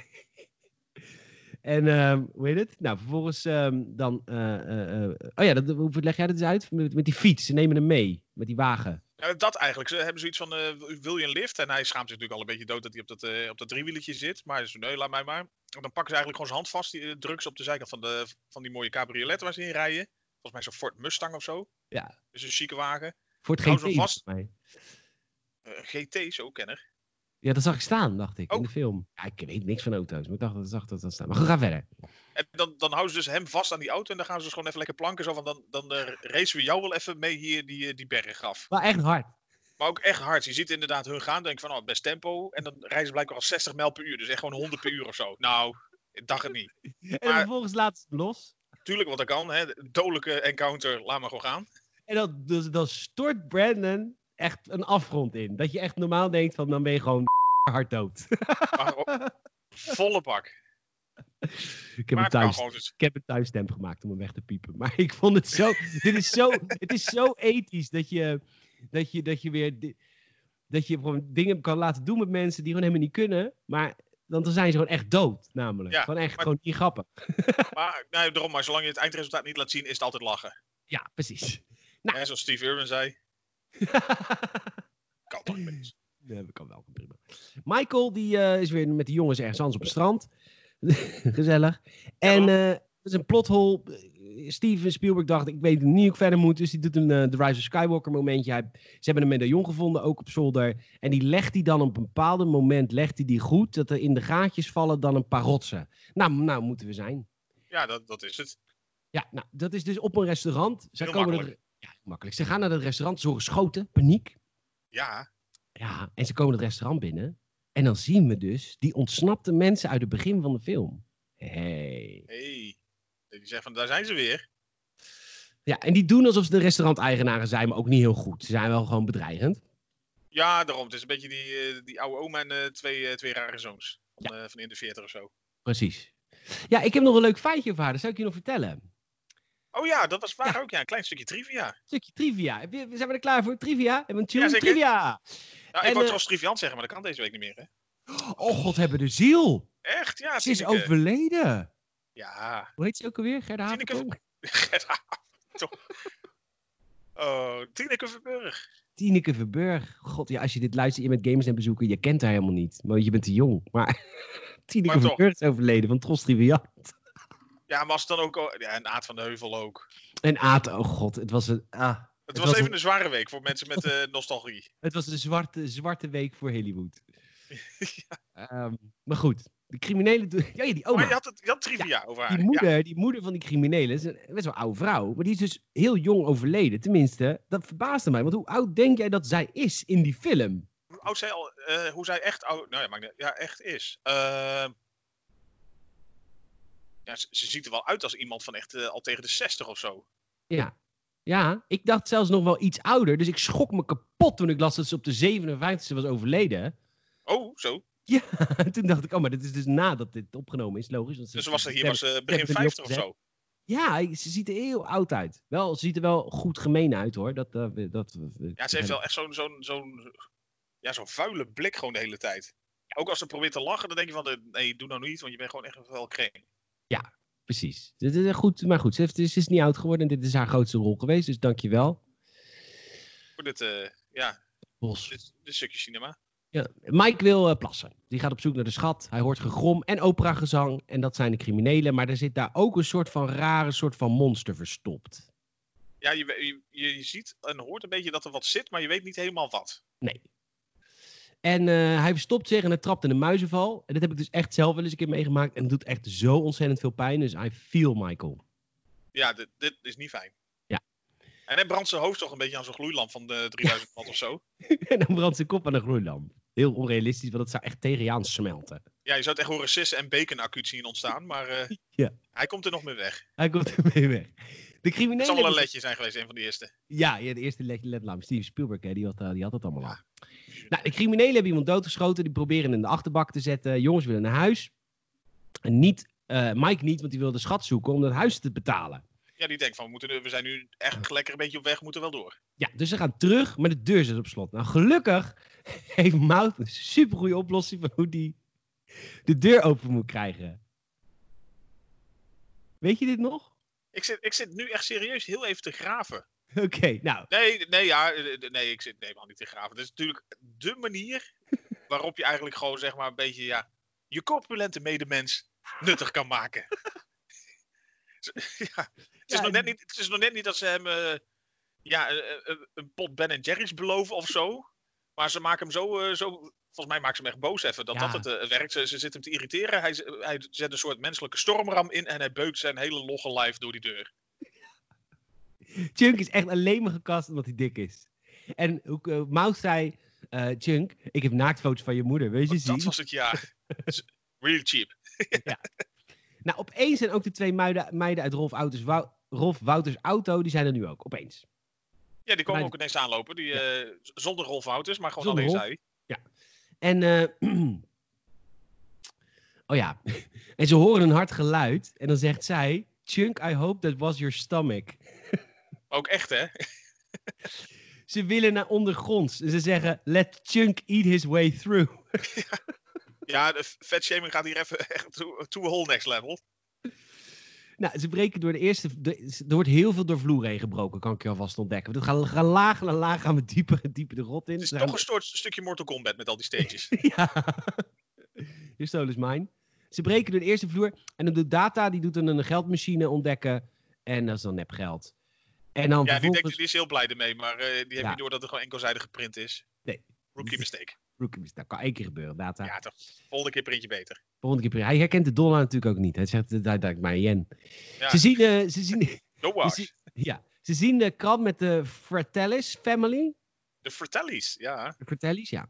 En ehm, hoe heet het? Nou, vervolgens ehm, dan. eh, eh, eh, oh ja, dat, hoe leg jij dat eens uit? Met, met die fiets. Ze nemen hem mee. Met die wagen.
Nou, dat eigenlijk. Ze hebben zoiets van, eh, wil je een lift? En hij schaamt zich natuurlijk al een beetje dood dat hij op dat, eh, op dat driewieletje zit. Maar hij zegt, nee, laat mij maar. En dan pakken ze eigenlijk gewoon zijn hand vast, die, eh, drukken ze op de zijkant van, de, van die mooie cabriolet waar ze in rijden. Volgens mij zo'n Ford Mustang of zo.
Ja.
Dus een chique wagen.
Voor het
Hou
GT.
ze vast.
volgens mij.
Eh, GT, zo kenner.
Ja, dat zag ik staan, dacht ik. In
Oh.
de film. Ja, ik weet niks van auto's. Maar ik dacht dat zag dat, dat staan. Maar goed, ga verder.
En dan, dan houden ze dus hem vast aan die auto en dan gaan ze dus gewoon even lekker planken. Zo van, dan, dan eh, racen we jou wel even mee hier die, eh, die berg af.
Maar echt hard.
Maar ook echt hard. Je ziet inderdaad hun gaan, denk van, oh, best tempo. En dan rijden ze blijkbaar al 60 mijl per uur. Dus echt gewoon 100 per uur of zo. Nou, ik dacht het niet.
En
Maar-
vervolgens laat ze hem los.
Tuurlijk, want dat kan. Hè. Dodelijke encounter, laat maar gewoon gaan.
En dan dus, dan stort Brandon echt een afgrond in. Dat je echt normaal denkt van dan ben je gewoon hard dood.
Maar op- volle bak.
ik heb hem
maar het kan
thuis.
gewoon. Dus.
Ik heb een timestamp gemaakt om hem weg te piepen. Maar ik vond het zo. dit is zo het is zo ethisch dat je, dat je, dat je weer. di- Dat je gewoon dingen kan laten doen met mensen die gewoon helemaal niet kunnen. Maar dan, dan zijn ze gewoon echt dood, namelijk.
Ja,
gewoon echt
maar-
gewoon niet grappig.
Maar, nou, daarom, maar zolang je het eindresultaat niet laat zien, is het altijd lachen.
Ja, precies.
Hè, zoals Steve Irwin zei. Kan toch niet. mis.
nee, we kan wel. Prima. Michael, die eh, is weer met die jongens ergens anders op het strand. Gezellig. En eh dat is een plothol. Steven Spielberg dacht, ik weet niet hoe ik verder moet. Dus die doet een eh, The Rise of Skywalker momentje. Hij, ze hebben een medaillon gevonden, ook op zolder. En die legt hij dan op een bepaald moment legt hij die goed. Dat er in de gaatjes vallen dan een paar rotsen. Nou, nou moeten we zijn.
Ja, dat, dat is het.
Ja, nou, dat is dus op een restaurant. Ze
Heel
komen
makkelijk.
Er, ja, makkelijk. Ze gaan naar dat restaurant, ze horen schoten, paniek.
Ja,
Ja, en ze komen het restaurant binnen. En dan zien we dus die ontsnapte mensen uit het begin van de film. Hey.
hey. Dat je zegt van, daar zijn ze weer.
Ja, en die doen alsof ze de restauranteigenaren zijn, maar ook niet heel goed. Ze zijn wel gewoon bedreigend.
Ja, daarom. Het is een beetje die, eh, die oude oma en eh, twee, eh, twee rare zoons. Van, eh, van in de 40 of zo.
Precies. Ja, ik heb nog een leuk feitje over haar, dat zou ik je nog vertellen.
Oh ja, dat was waar ook. Ja, een klein stukje trivia.
Stukje trivia. Heb je- Zijn we er klaar voor? Trivia? Hebben we een tune?
Ja, zeker.
trivia!
Nou,
En,
ik wou
eh,
trouwens triviant zeggen, maar dat kan deze week niet meer. Hè?
Oh god, hebben de ziel!
Echt? Ja,
Ze is
Tineke.
overleden.
Ja.
Hoe heet ze ook alweer? Gerda
Tineke
Haverkamp?
Gerda Toch. Oh, Tineke Verburg.
Tineke Verburg. God, ja, als je dit luistert, je bent gamers en bezoeken, je kent haar helemaal niet. Maar je bent te jong. Maar Tineke
Maar toch.
Verburg is overleden van Tros Triviant.
Ja, maar als het dan ook... al- Ja, en Aad van de Heuvel ook.
En Aad, oh god, het was een, ah,
Het
Het
was
was
even
een-
een zware week voor mensen met eh, nostalgie.
het was een zwarte, zwarte week voor Hollywood. Ehm, maar goed, de criminelen... doen- Ja, ja, die
maar
oma,
je had, het, je had trivia over haar.
die,
Ja,
moeder, die moeder van die criminelen, is een best wel oude vrouw. Maar die is dus heel jong overleden, tenminste. Dat verbaasde mij, want hoe oud denk jij dat zij is in die film?
hoe oud zij al... eh, hoe zij echt oud... Nou ja, maakt niet- ja echt is. Ehm, ja, ze, ze ziet er wel uit als iemand van echt eh, al tegen de 60 of zo.
Ja, Ja, ik dacht zelfs nog wel iets ouder. Dus ik schrok me kapot toen ik las dat ze op de 57e was overleden. hè.
Oh, zo.
Ja, toen dacht ik, oh, maar dit is dus nadat dit opgenomen is, logisch. Want ze-
Dus ze was,
ze
hier
hebben-
was ze begin
hebben die
50 of
opgezet.
zo.
Ja, ze ziet er heel oud uit. Wel, ze ziet er wel goed gemeen uit, hoor. Dat, eh, we- dat, we-
Ja, ze heeft wel echt zo'n zo'n zo'n ja, zo'n vuile blik gewoon de hele tijd. Ook als ze probeert te lachen, dan denk je van, eh, nee, doe nou niet, want je bent gewoon echt wel kreng.
Precies. Dit is goed, maar goed, ze, heeft, ze is niet oud geworden en dit is haar grootste rol geweest, dus dankjewel.
Voor dit, eh, ja,
Bos.
dit, dit stukje cinema.
Ja. Mike wil eh, plassen. Die gaat op zoek naar de schat. Hij hoort gegrom en operagezang. En dat zijn de criminelen. Maar er zit daar ook een soort van rare soort van monster verstopt.
Ja, je, we- je, je ziet en hoort een beetje dat er wat zit, maar je weet niet helemaal wat.
Nee. En eh, hij verstopt zich en hij trapt in een muizenval. En dat heb ik dus echt zelf wel eens een keer meegemaakt. En het doet echt zo ontzettend veel pijn. Dus I feel Michael.
Ja, dit, dit is niet fijn.
Ja.
En hij brandt zijn hoofd toch een beetje aan zo'n gloeilamp van de 3000 watt of zo.
en dan brandt zijn kop aan een gloeilamp. Heel onrealistisch, want dat zou echt tegen je aan smelten.
Ja, je zou het echt horen sissen en bacon acuut zien ontstaan, maar eh,
Ja.
hij komt er nog mee weg.
Hij komt ermee weg. De criminelen...
het zal wel een
hebben-
letje zijn geweest, een van de eerste.
Ja, ja, de eerste led- ledlamp. Steven Spielberg, hè, die, had, eh, die had dat allemaal al. Nou, de criminelen hebben iemand doodgeschoten. Die proberen hem in de achterbak te zetten. Jongens willen naar huis. En niet, eh, Mike niet, want die wil de schat zoeken om dat huis te betalen.
Ja, die denkt van, we, moeten, nu- we zijn nu echt lekker een beetje op weg, we moeten wel door.
Ja, dus ze gaan terug, maar de deur zit op slot. Nou, gelukkig heeft Mout een supergoeie oplossing van hoe die de deur open moet krijgen. Weet je dit nog?
Ik zit, ik zit nu echt serieus heel even te graven.
Oké, nou,
Nee, nee, ja, eh, eh, nee, ik zit nee, man, niet te graven. Dat is natuurlijk de manier waarop je eigenlijk gewoon zeg maar een beetje ja, je corpulente medemens nuttig kan maken. Zo, ja, het,
Ja,
is nog
en-
net niet, het is nog net niet dat ze hem eh, ja, eh, eh, een, pot Ben Jerry's beloven of zo. Maar ze maken hem zo, eh, zo volgens mij maken ze hem echt boos even dat
Ja.
dat het eh, werkt. Ze, ze zitten hem te irriteren. Hij, z- hij zet een soort menselijke stormram in en hij beukt zijn hele logge lijf door die deur.
Chunk is echt alleen maar gekast omdat hij dik is. En ook, eh, Mout zei, eh, Chunk, ik heb naaktfoto's van je moeder, wil je ze zien?
Oh, Dat was het jaar. Real cheap.
Nou, opeens zijn ook de twee meiden, meiden uit Rolf, Wouters, Wou- Rolf Wouters' auto, die zijn er nu ook, opeens.
Ja, die komen
Maar-
ook ineens aanlopen. Die, eh, z- zonder Rolf Wouters, maar gewoon
Zonder
alleen
Rolf.
zij.
En, eh, oh ja, en ze horen een hard geluid en dan zegt zij, Chunk, I hope that was your stomach.
Maar ook echt, hè?
Ze willen naar ondergronds en ze zeggen, let Chunk eat his way through.
Ja, de f- vetshaming gaat hier even echt to, to a whole next level.
Nou, ze breken door de eerste. de- ze- er wordt heel veel door vloer heen gebroken, kan ik je alvast ontdekken. We gaan, gaan laag en laag gaan we dieper en dieper de rot in.
Het is
Ze
toch
gaan-
een soort stukje Mortal Kombat met al die stages.
Ja. Your soul is mine. Ze breken door de eerste vloer. En dan doet Data, die doet dan een geldmachine ontdekken. En dat is dan nepgeld. En dan
ja, die,
vervolgens...
denkt, die is heel blij ermee, maar eh, die heeft
Ja.
niet door dat het gewoon enkelzijdig geprint is.
Nee.
Rookie mistake.
Rookie mistake. Dat kan één keer gebeuren, Data.
Ja, toch. Volgende keer print je beter.
Volgende keer... Hij herkent de dollar natuurlijk ook niet. Hij zegt, eh, dat ik maar yen.
Ja.
Ze zien... eh, ze zien
No
ze
wash.
zien- ja. Ze zien de krant met de Fratellis family.
De Fratellis, ja.
De Fratellis, ja.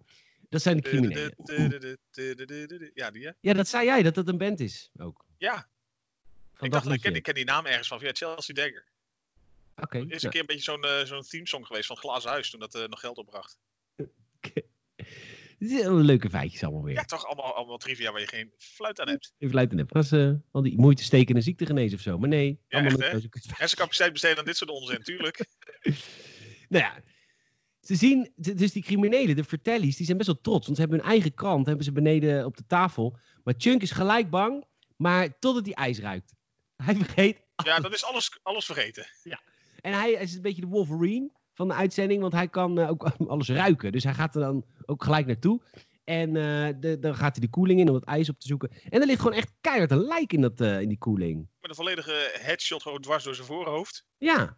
Dat zijn de criminelen.
Ja, die hè?
Ja, dat zei jij, dat dat een band is ook.
Ja,
Van dat
ik dacht, ik
liedje.
ken, ik ken die naam ergens van. Ja, Chelsea Dagger.
Oké.
Er is een
nou,
keer een beetje zo'n eh, zo'n themesong geweest van Glazen Huis toen dat eh, nog geld opbracht.
Dit is een leuke feitjes allemaal weer.
Ja, toch allemaal, allemaal trivia waar je geen fluit aan hebt.
Even luid en heb. Gaan ze eh, al die moeite steken in een ziekte genezen of zo? Maar nee.
Ja,
allemaal
echt,
met
hè?
deze kutfe-
Hersencapaciteit besteden aan dit soort onzin, tuurlijk.
Nou ja. Ze zien, d- dus die criminelen, de vertellies, die zijn best wel trots. Want ze hebben hun eigen krant, hebben ze beneden op de tafel. Maar Chunk is gelijk bang, maar totdat hij ijs ruikt. Hij vergeet.
Ja, dan is alles, alles vergeten.
En hij is een beetje de Wolverine van de uitzending, want hij kan eh, ook alles ruiken. Dus hij gaat er dan ook gelijk naartoe. En eh, de- dan gaat hij de koeling in om het ijs op te zoeken. En er ligt gewoon echt keihard een lijk in, dat, eh, in die koeling.
Met een volledige headshot gewoon dwars door zijn voorhoofd.
Ja,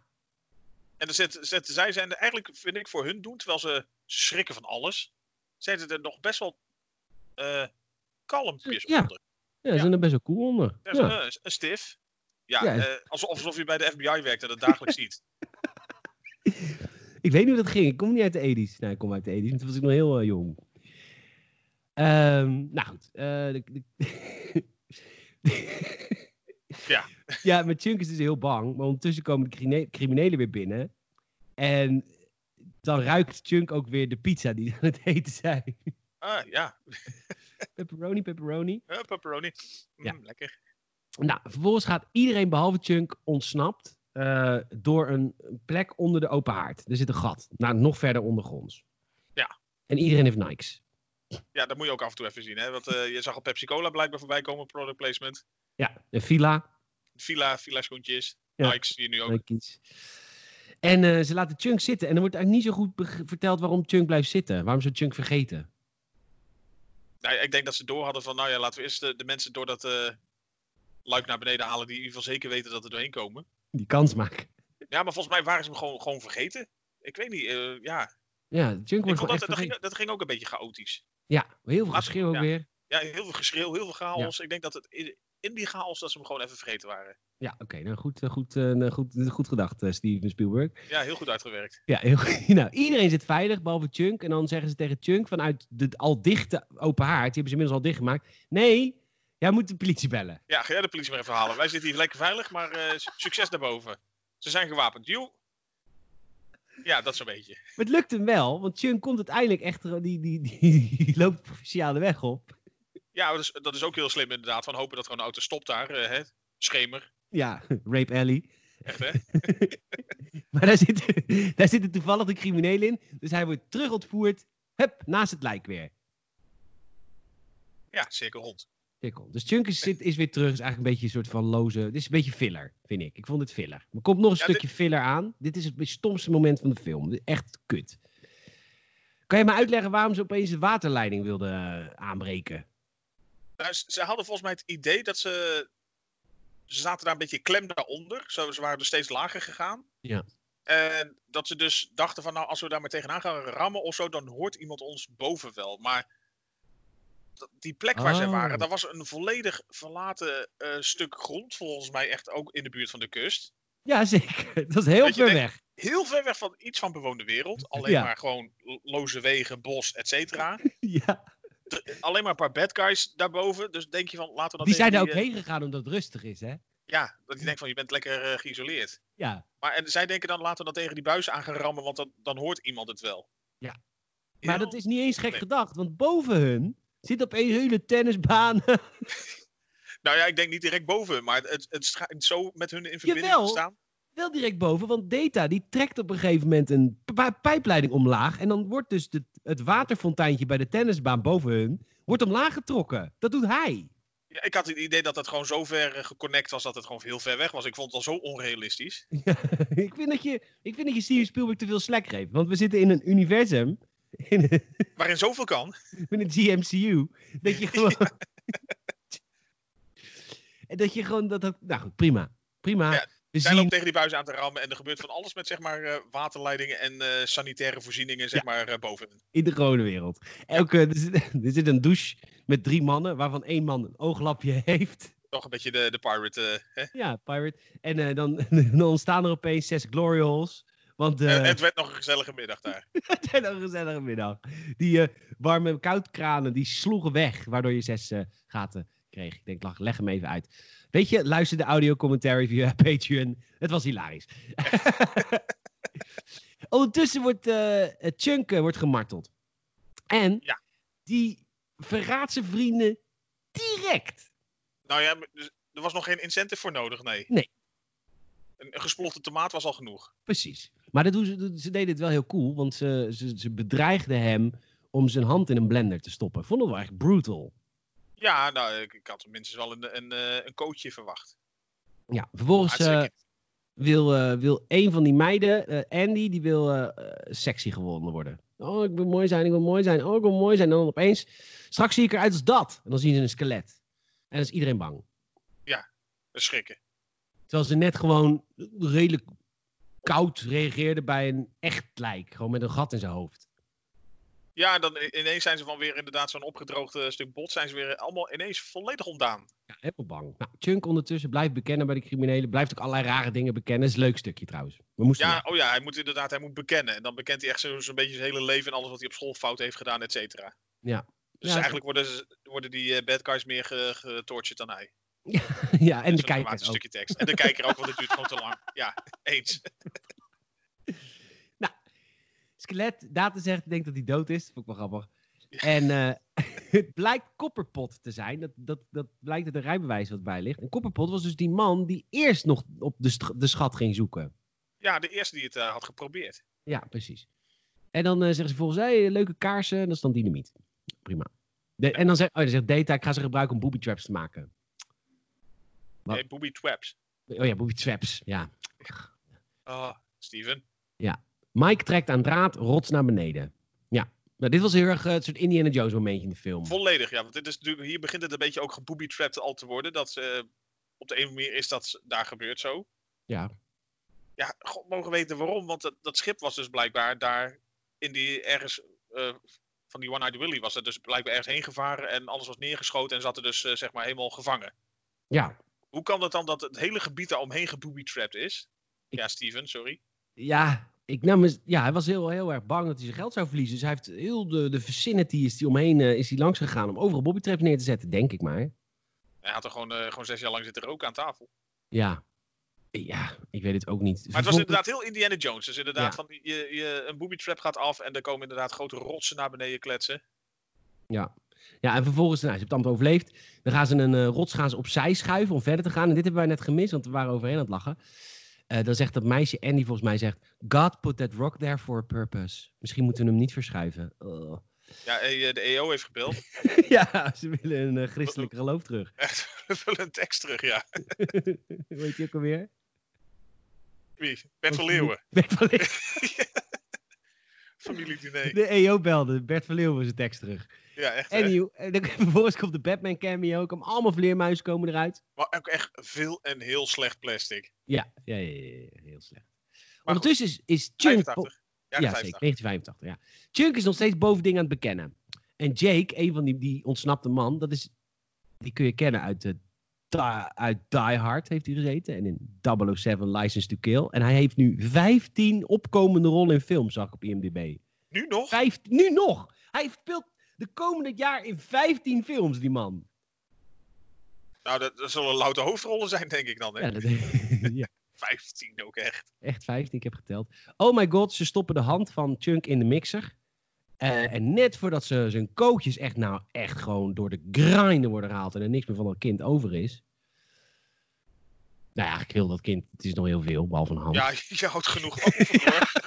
En dan zet, zet, zij zijn er eigenlijk, vind ik, voor hun doen, terwijl ze schrikken van alles, zijn ze er nog best wel eh kalmpjes
Ja.
onder.
ja, ze
Ja.
zijn er best wel cool onder.
Ja,
Ja,
zo, eh, een stif. Ja,
Ja.
eh, alsof, alsof je bij de FBI werkt en dat dagelijks ziet.
Ik weet niet hoe dat ging. Ik kom niet uit de 80s. Nou, ik kom uit de 80s, want toen was ik nog heel eh, jong. Ehm, nou goed. eh, de- de-
Ja.
ja, maar Chunk is dus heel bang. Maar ondertussen komen de crine- criminelen weer binnen. En dan ruikt Chunk ook weer de pizza die ze aan het eten zijn.
Ah, ja.
pepperoni, pepperoni.
Eh, pepperoni. Mm,
Ja.
Lekker.
Nou, vervolgens gaat iedereen behalve Chunk ontsnapt eh, door een plek onder de open haard. Er zit een gat, nou, nog verder ondergronds.
Ja.
En iedereen heeft Nikes.
Ja, dat moet je ook af en toe even zien. Hè? Want eh, je zag al Pepsi Cola blijkbaar voorbij komen, product placement.
Ja, een villa,
Villa, Villa schoentjes.
Ja.
Nikes zie je nu ook.
Nikes. En eh, ze laten Chunk zitten. En er wordt eigenlijk niet zo goed beg- verteld waarom Chunk blijft zitten. Waarom ze Chunk vergeten.
Nou, ik denk dat ze door hadden van, nou ja, laten we eerst de, de mensen door dat eh, luik naar beneden halen die in ieder geval zeker weten dat er doorheen komen.
Die kans maken.
Ja, maar volgens mij waren ze hem gewoon, gewoon vergeten. Ik weet niet, eh, ja.
Ja, Chunk
Ik
wordt gewoon
vond dat,
echt
dat, ging,
vergeten.
dat ging ook een beetje chaotisch.
Ja, heel veel
Laat-
geschreeuw ook
ja.
weer.
Ja, heel veel geschreeuw, heel veel chaos. Ik denk dat het in, in die chaos dat ze hem gewoon even vergeten waren.
Ja, oké. nou, goed, eh, goed, eh, nou, goed, goed gedacht, eh, Steven Spielberg.
Ja, heel goed uitgewerkt.
Ja, heel goed. Nou, iedereen zit veilig, behalve Chunk. En dan zeggen ze tegen Chunk vanuit de al dichte open haard, die hebben ze inmiddels al dichtgemaakt. Nee, jij moet de politie bellen.
Ja, ga jij de politie maar even halen. Wij zitten hier lekker veilig, maar eh, su- succes daarboven. Ze zijn gewapend. Joe. Ja, dat zo'n beetje.
Maar het lukt hem wel, want Chunk komt uiteindelijk echt, die, die, die, die, loopt provinciale weg op.
Ja, dat is, dat is ook heel slim inderdaad. Van hopen dat gewoon een auto stopt daar. eh, hè? Schemer.
Ja, Rape Alley.
Echt hè?
Maar daar zitten, daar zitten toevallig de criminelen in, dus hij wordt terug ontvoerd. Hup, naast het lijk weer.
Ja, cirkel rond.
Tikkel. Dus Chunk is, zit- is weer terug, is eigenlijk een beetje een soort van loze... Dit is een beetje filler, vind ik. Ik vond het filler. Er komt nog een
Ja,
stukje filler aan. Dit is het stomste moment van de film. Dit is Echt kut. Kan je me uitleggen waarom ze opeens de waterleiding wilden eh, aanbreken?
Nou, ze- ze hadden volgens mij het idee dat ze... Ze zaten daar een beetje klem daaronder. Zo, ze waren er steeds lager gegaan.
Ja.
En dat ze dus dachten van, nou, als we daar maar tegenaan gaan rammen of zo, dan hoort iemand ons boven wel. Maar dat- die plek waar zij
Oh.
waren, dat was een volledig verlaten eh, stuk grond, volgens mij echt ook in de buurt van de kust.
Ja, zeker. Dat is heel
Weet je,
ver
denk-
weg.
Heel ver weg van iets van bewoonde wereld. Alleen
Ja.
maar gewoon lo- loze wegen, bos, et cetera.
Ja.
D- Alleen maar een paar bad guys daarboven. Dus denk je van, laten we
Die
dat even
zijn daar ook
eh,
heen gegaan omdat het rustig is, hè?
Ja, dat je denkt van, je bent lekker eh, geïsoleerd.
Ja.
Maar en zij denken dan, laten we dat tegen die buis aan gaan rammen, want dan, dan hoort iemand het wel.
Ja. Maar dat
Heel-
is niet eens gek
Nee.
gedacht, want boven hun zit opeens hele tennisbanen.
Nou ja, ik denk niet direct boven, maar het, het schijnt zo met hun in verbinding
Jawel.
te staan.
Wel direct boven, want Data die trekt op een gegeven moment een pi- pijpleiding omlaag. En dan wordt dus de, het waterfonteintje bij de tennisbaan boven hun wordt omlaag getrokken. Dat doet hij.
Ja, ik had het idee dat dat gewoon zo ver eh, geconnect was dat het gewoon heel ver weg was. Ik vond het al zo onrealistisch.
ik, vind dat je, ik vind dat je Steven Spielberg te veel slack geeft. Want we zitten in een universum, in, een-
Waarin zoveel kan.
in het GMCU, dat je gewoon... en dat je gewoon... Dat, dat, nou goed, prima. Prima.
Ja,
we
Zij
zien
loopt tegen die buis aan te rammen en er gebeurt van alles met zeg maar eh, waterleidingen en eh, sanitaire voorzieningen zeg maar eh, boven.
in de gewone wereld. Elke, er, zit, er zit een douche met drie mannen, waarvan één man een ooglapje heeft.
Toch een beetje de, de pirate. eh, hè?
Ja, Pirate. En eh, dan, dan ontstaan er opeens zes glory holes. Want eh,
En het werd nog een gezellige middag daar.
het werd een gezellige middag. Die eh warme en koudkranen, die sloegen weg. Waardoor je zes eh, gaten kreeg. Ik denk, lach, leg hem even uit. Weet je, luister de audio commentary via Patreon. Het was hilarisch. Ondertussen wordt eh Chunk eh, wordt gemarteld. En
Ja.
die verraadt zijn vrienden direct.
Nou ja, maar dus- er was nog geen incentive voor nodig, nee.
Nee.
Een, een gesplochte tomaat was al genoeg.
Precies. Maar dat doen ze, ze deden het wel heel cool, want ze, ze, ze bedreigden hem om zijn hand in een blender te stoppen. Vonden we echt brutal.
Ja, nou, ik, ik had minstens wel een, een, eh, een coachje verwacht.
Ja, vervolgens eh,
Hartstikke-
wil, eh, wil een van die meiden, eh, Andy, die wil eh, eh, sexy gewonnen worden. Oh, ik wil mooi zijn, ik wil mooi zijn, oh, ik wil mooi zijn. En dan opeens, straks zie ik eruit als dat. En dan zien ze een skelet. En dan is iedereen bang.
schrikken.
Terwijl ze net gewoon redelijk koud reageerde bij een echt lijk. Gewoon met een gat in zijn hoofd.
Ja, en dan i- ineens zijn ze van weer inderdaad zo'n opgedroogd eh, stuk bot. Zijn ze weer allemaal ineens volledig ontdaan.
Ja, helemaal bang. Nou, Chunk ondertussen blijft bekennen bij de criminelen. Blijft ook allerlei rare dingen bekennen. is een leuk stukje trouwens. We moesten
Ja,
lachen.
oh ja, hij moet inderdaad hij moet bekennen. En dan bekent hij echt zo- zo'n beetje zijn hele leven en alles wat hij op school fout heeft gedaan, et cetera.
Ja.
Dus
Ja,
eigenlijk worden, ze, worden die eh, bad guys meer ge- getortured dan hij.
ja, en de
Zo'n dramatisch
kijkers ook.
stukje tekst. En de kijker ook, want het duurt gewoon te lang. Ja, eens.
Skelet, data zegt, denkt dat hij dood is. Vond ik wel grappig.
Ja.
En eh, het blijkt Kopperpot te zijn. Dat, dat, dat blijkt uit een rijbewijs wat bij ligt. En Kopperpot was dus die man die eerst nog op de, sch- de schat ging zoeken.
Ja, de eerste die het eh, had geprobeerd.
Ja, precies. En dan eh, zeggen ze volgens mij leuke kaarsen. En dat is dan dynamiet. Prima. De- en dan zegt, oh, dan zegt Data, ik ga ze gebruiken om booby traps te maken. Wat?
Nee, Booby Traps.
Oh ja, booby traps. Ja.
Oh, Steven.
Mike trekt aan draad, rots naar beneden. Ja. Nou, dit was heel erg eh, het soort Indiana Jones momentje in de film.
Volledig, ja. Want dit is natuurlijk, hier begint het een beetje ook gebooby-trapped al te worden. Dat ze, eh, op de een manier is dat ze- daar gebeurd zo.
Ja.
Ja, god mogen weten waarom. Want dat, dat schip was dus blijkbaar daar in die ergens... eh, van die One-Eyed Willy was er dus blijkbaar ergens heen gevaren. En alles was neergeschoten en zat er dus eh, zeg maar helemaal gevangen.
Ja.
Hoe kan dat dan dat het hele gebied daar omheen gebooby-trapped is?
Ik-
Ja, Steven, sorry.
Ja, ik nam eens- ja, hij was heel, heel erg bang dat hij zijn geld zou verliezen. Dus hij heeft heel de, de vicinity is die omheen eh, is die langs gegaan om overal Bobby Traps neer te zetten, denk ik maar.
Hij had er gewoon, eh, gewoon zes jaar lang zitten roken aan tafel.
Ja. Ja, ik weet het ook niet.
Maar het was inderdaad heel Indiana Jones. Dus inderdaad,
Dus Ja.
van, die- je, je, een booby trap gaat af en er komen inderdaad grote rotsen naar beneden kletsen.
Ja, en vervolgens, nou, ze hebben het allemaal overleefd. Dan gaan ze een eh, rots gaan ze opzij schuiven om verder te gaan. En dit hebben wij net gemist, want we waren overheen aan het lachen. Eh, dan zegt dat meisje Andy volgens mij zegt... God put that rock there for a purpose. Misschien moeten we hem niet verschuiven. Oh.
Ja, eh, de EO heeft gebeld.
ja, ze willen een eh, christelijk geloof terug.
Echt, we vullen een tekst terug, ja.
Weet je ook alweer?
Wie? Bert van Leeuwen.
Bert van Leeuwen.
Familiediner.
De EO belde, Bert van Leeuwen zijn tekst terug.
Ja, echt. hè?
Anyhow, en dan- vervolgens komt de Batman cameo, komen allemaal vleermuizen komen eruit.
Maar ook echt veel en heel slecht plastic.
Ja, ja, ja, ja, ja, heel slecht.
Maar goed,
Ondertussen is, is Chunk...
85. Ja,
Ja,
85.
zeker, 1985, ja. Chunk is nog steeds bovending aan het bekennen. En Jake, een van die, die ontsnapte man, dat is, die kun je kennen uit, de, Die- uit Die Hard, heeft hij gezeten. En in 007 License to Kill. En hij heeft nu 15 opkomende rollen in films, zag ik op IMDb.
Nu nog?
Vijf, nu nog. Hij speelt de komende jaar in 15 films, die man.
Nou, dat, dat zullen louter hoofdrollen zijn, denk ik dan. Hè?
Ja, dat, ja,
15 ook echt.
echt 15, ik heb geteld. Oh my god, ze stoppen de hand van Chunk in de mixer. Eh, en net voordat ze zijn kootjes echt, nou, echt gewoon door de grinden worden gehaald en er niks meer van dat kind over is. Nou ja, ik wil dat kind, het is nog heel veel, behalve een hand.
Ja, je houdt genoeg over, hoor.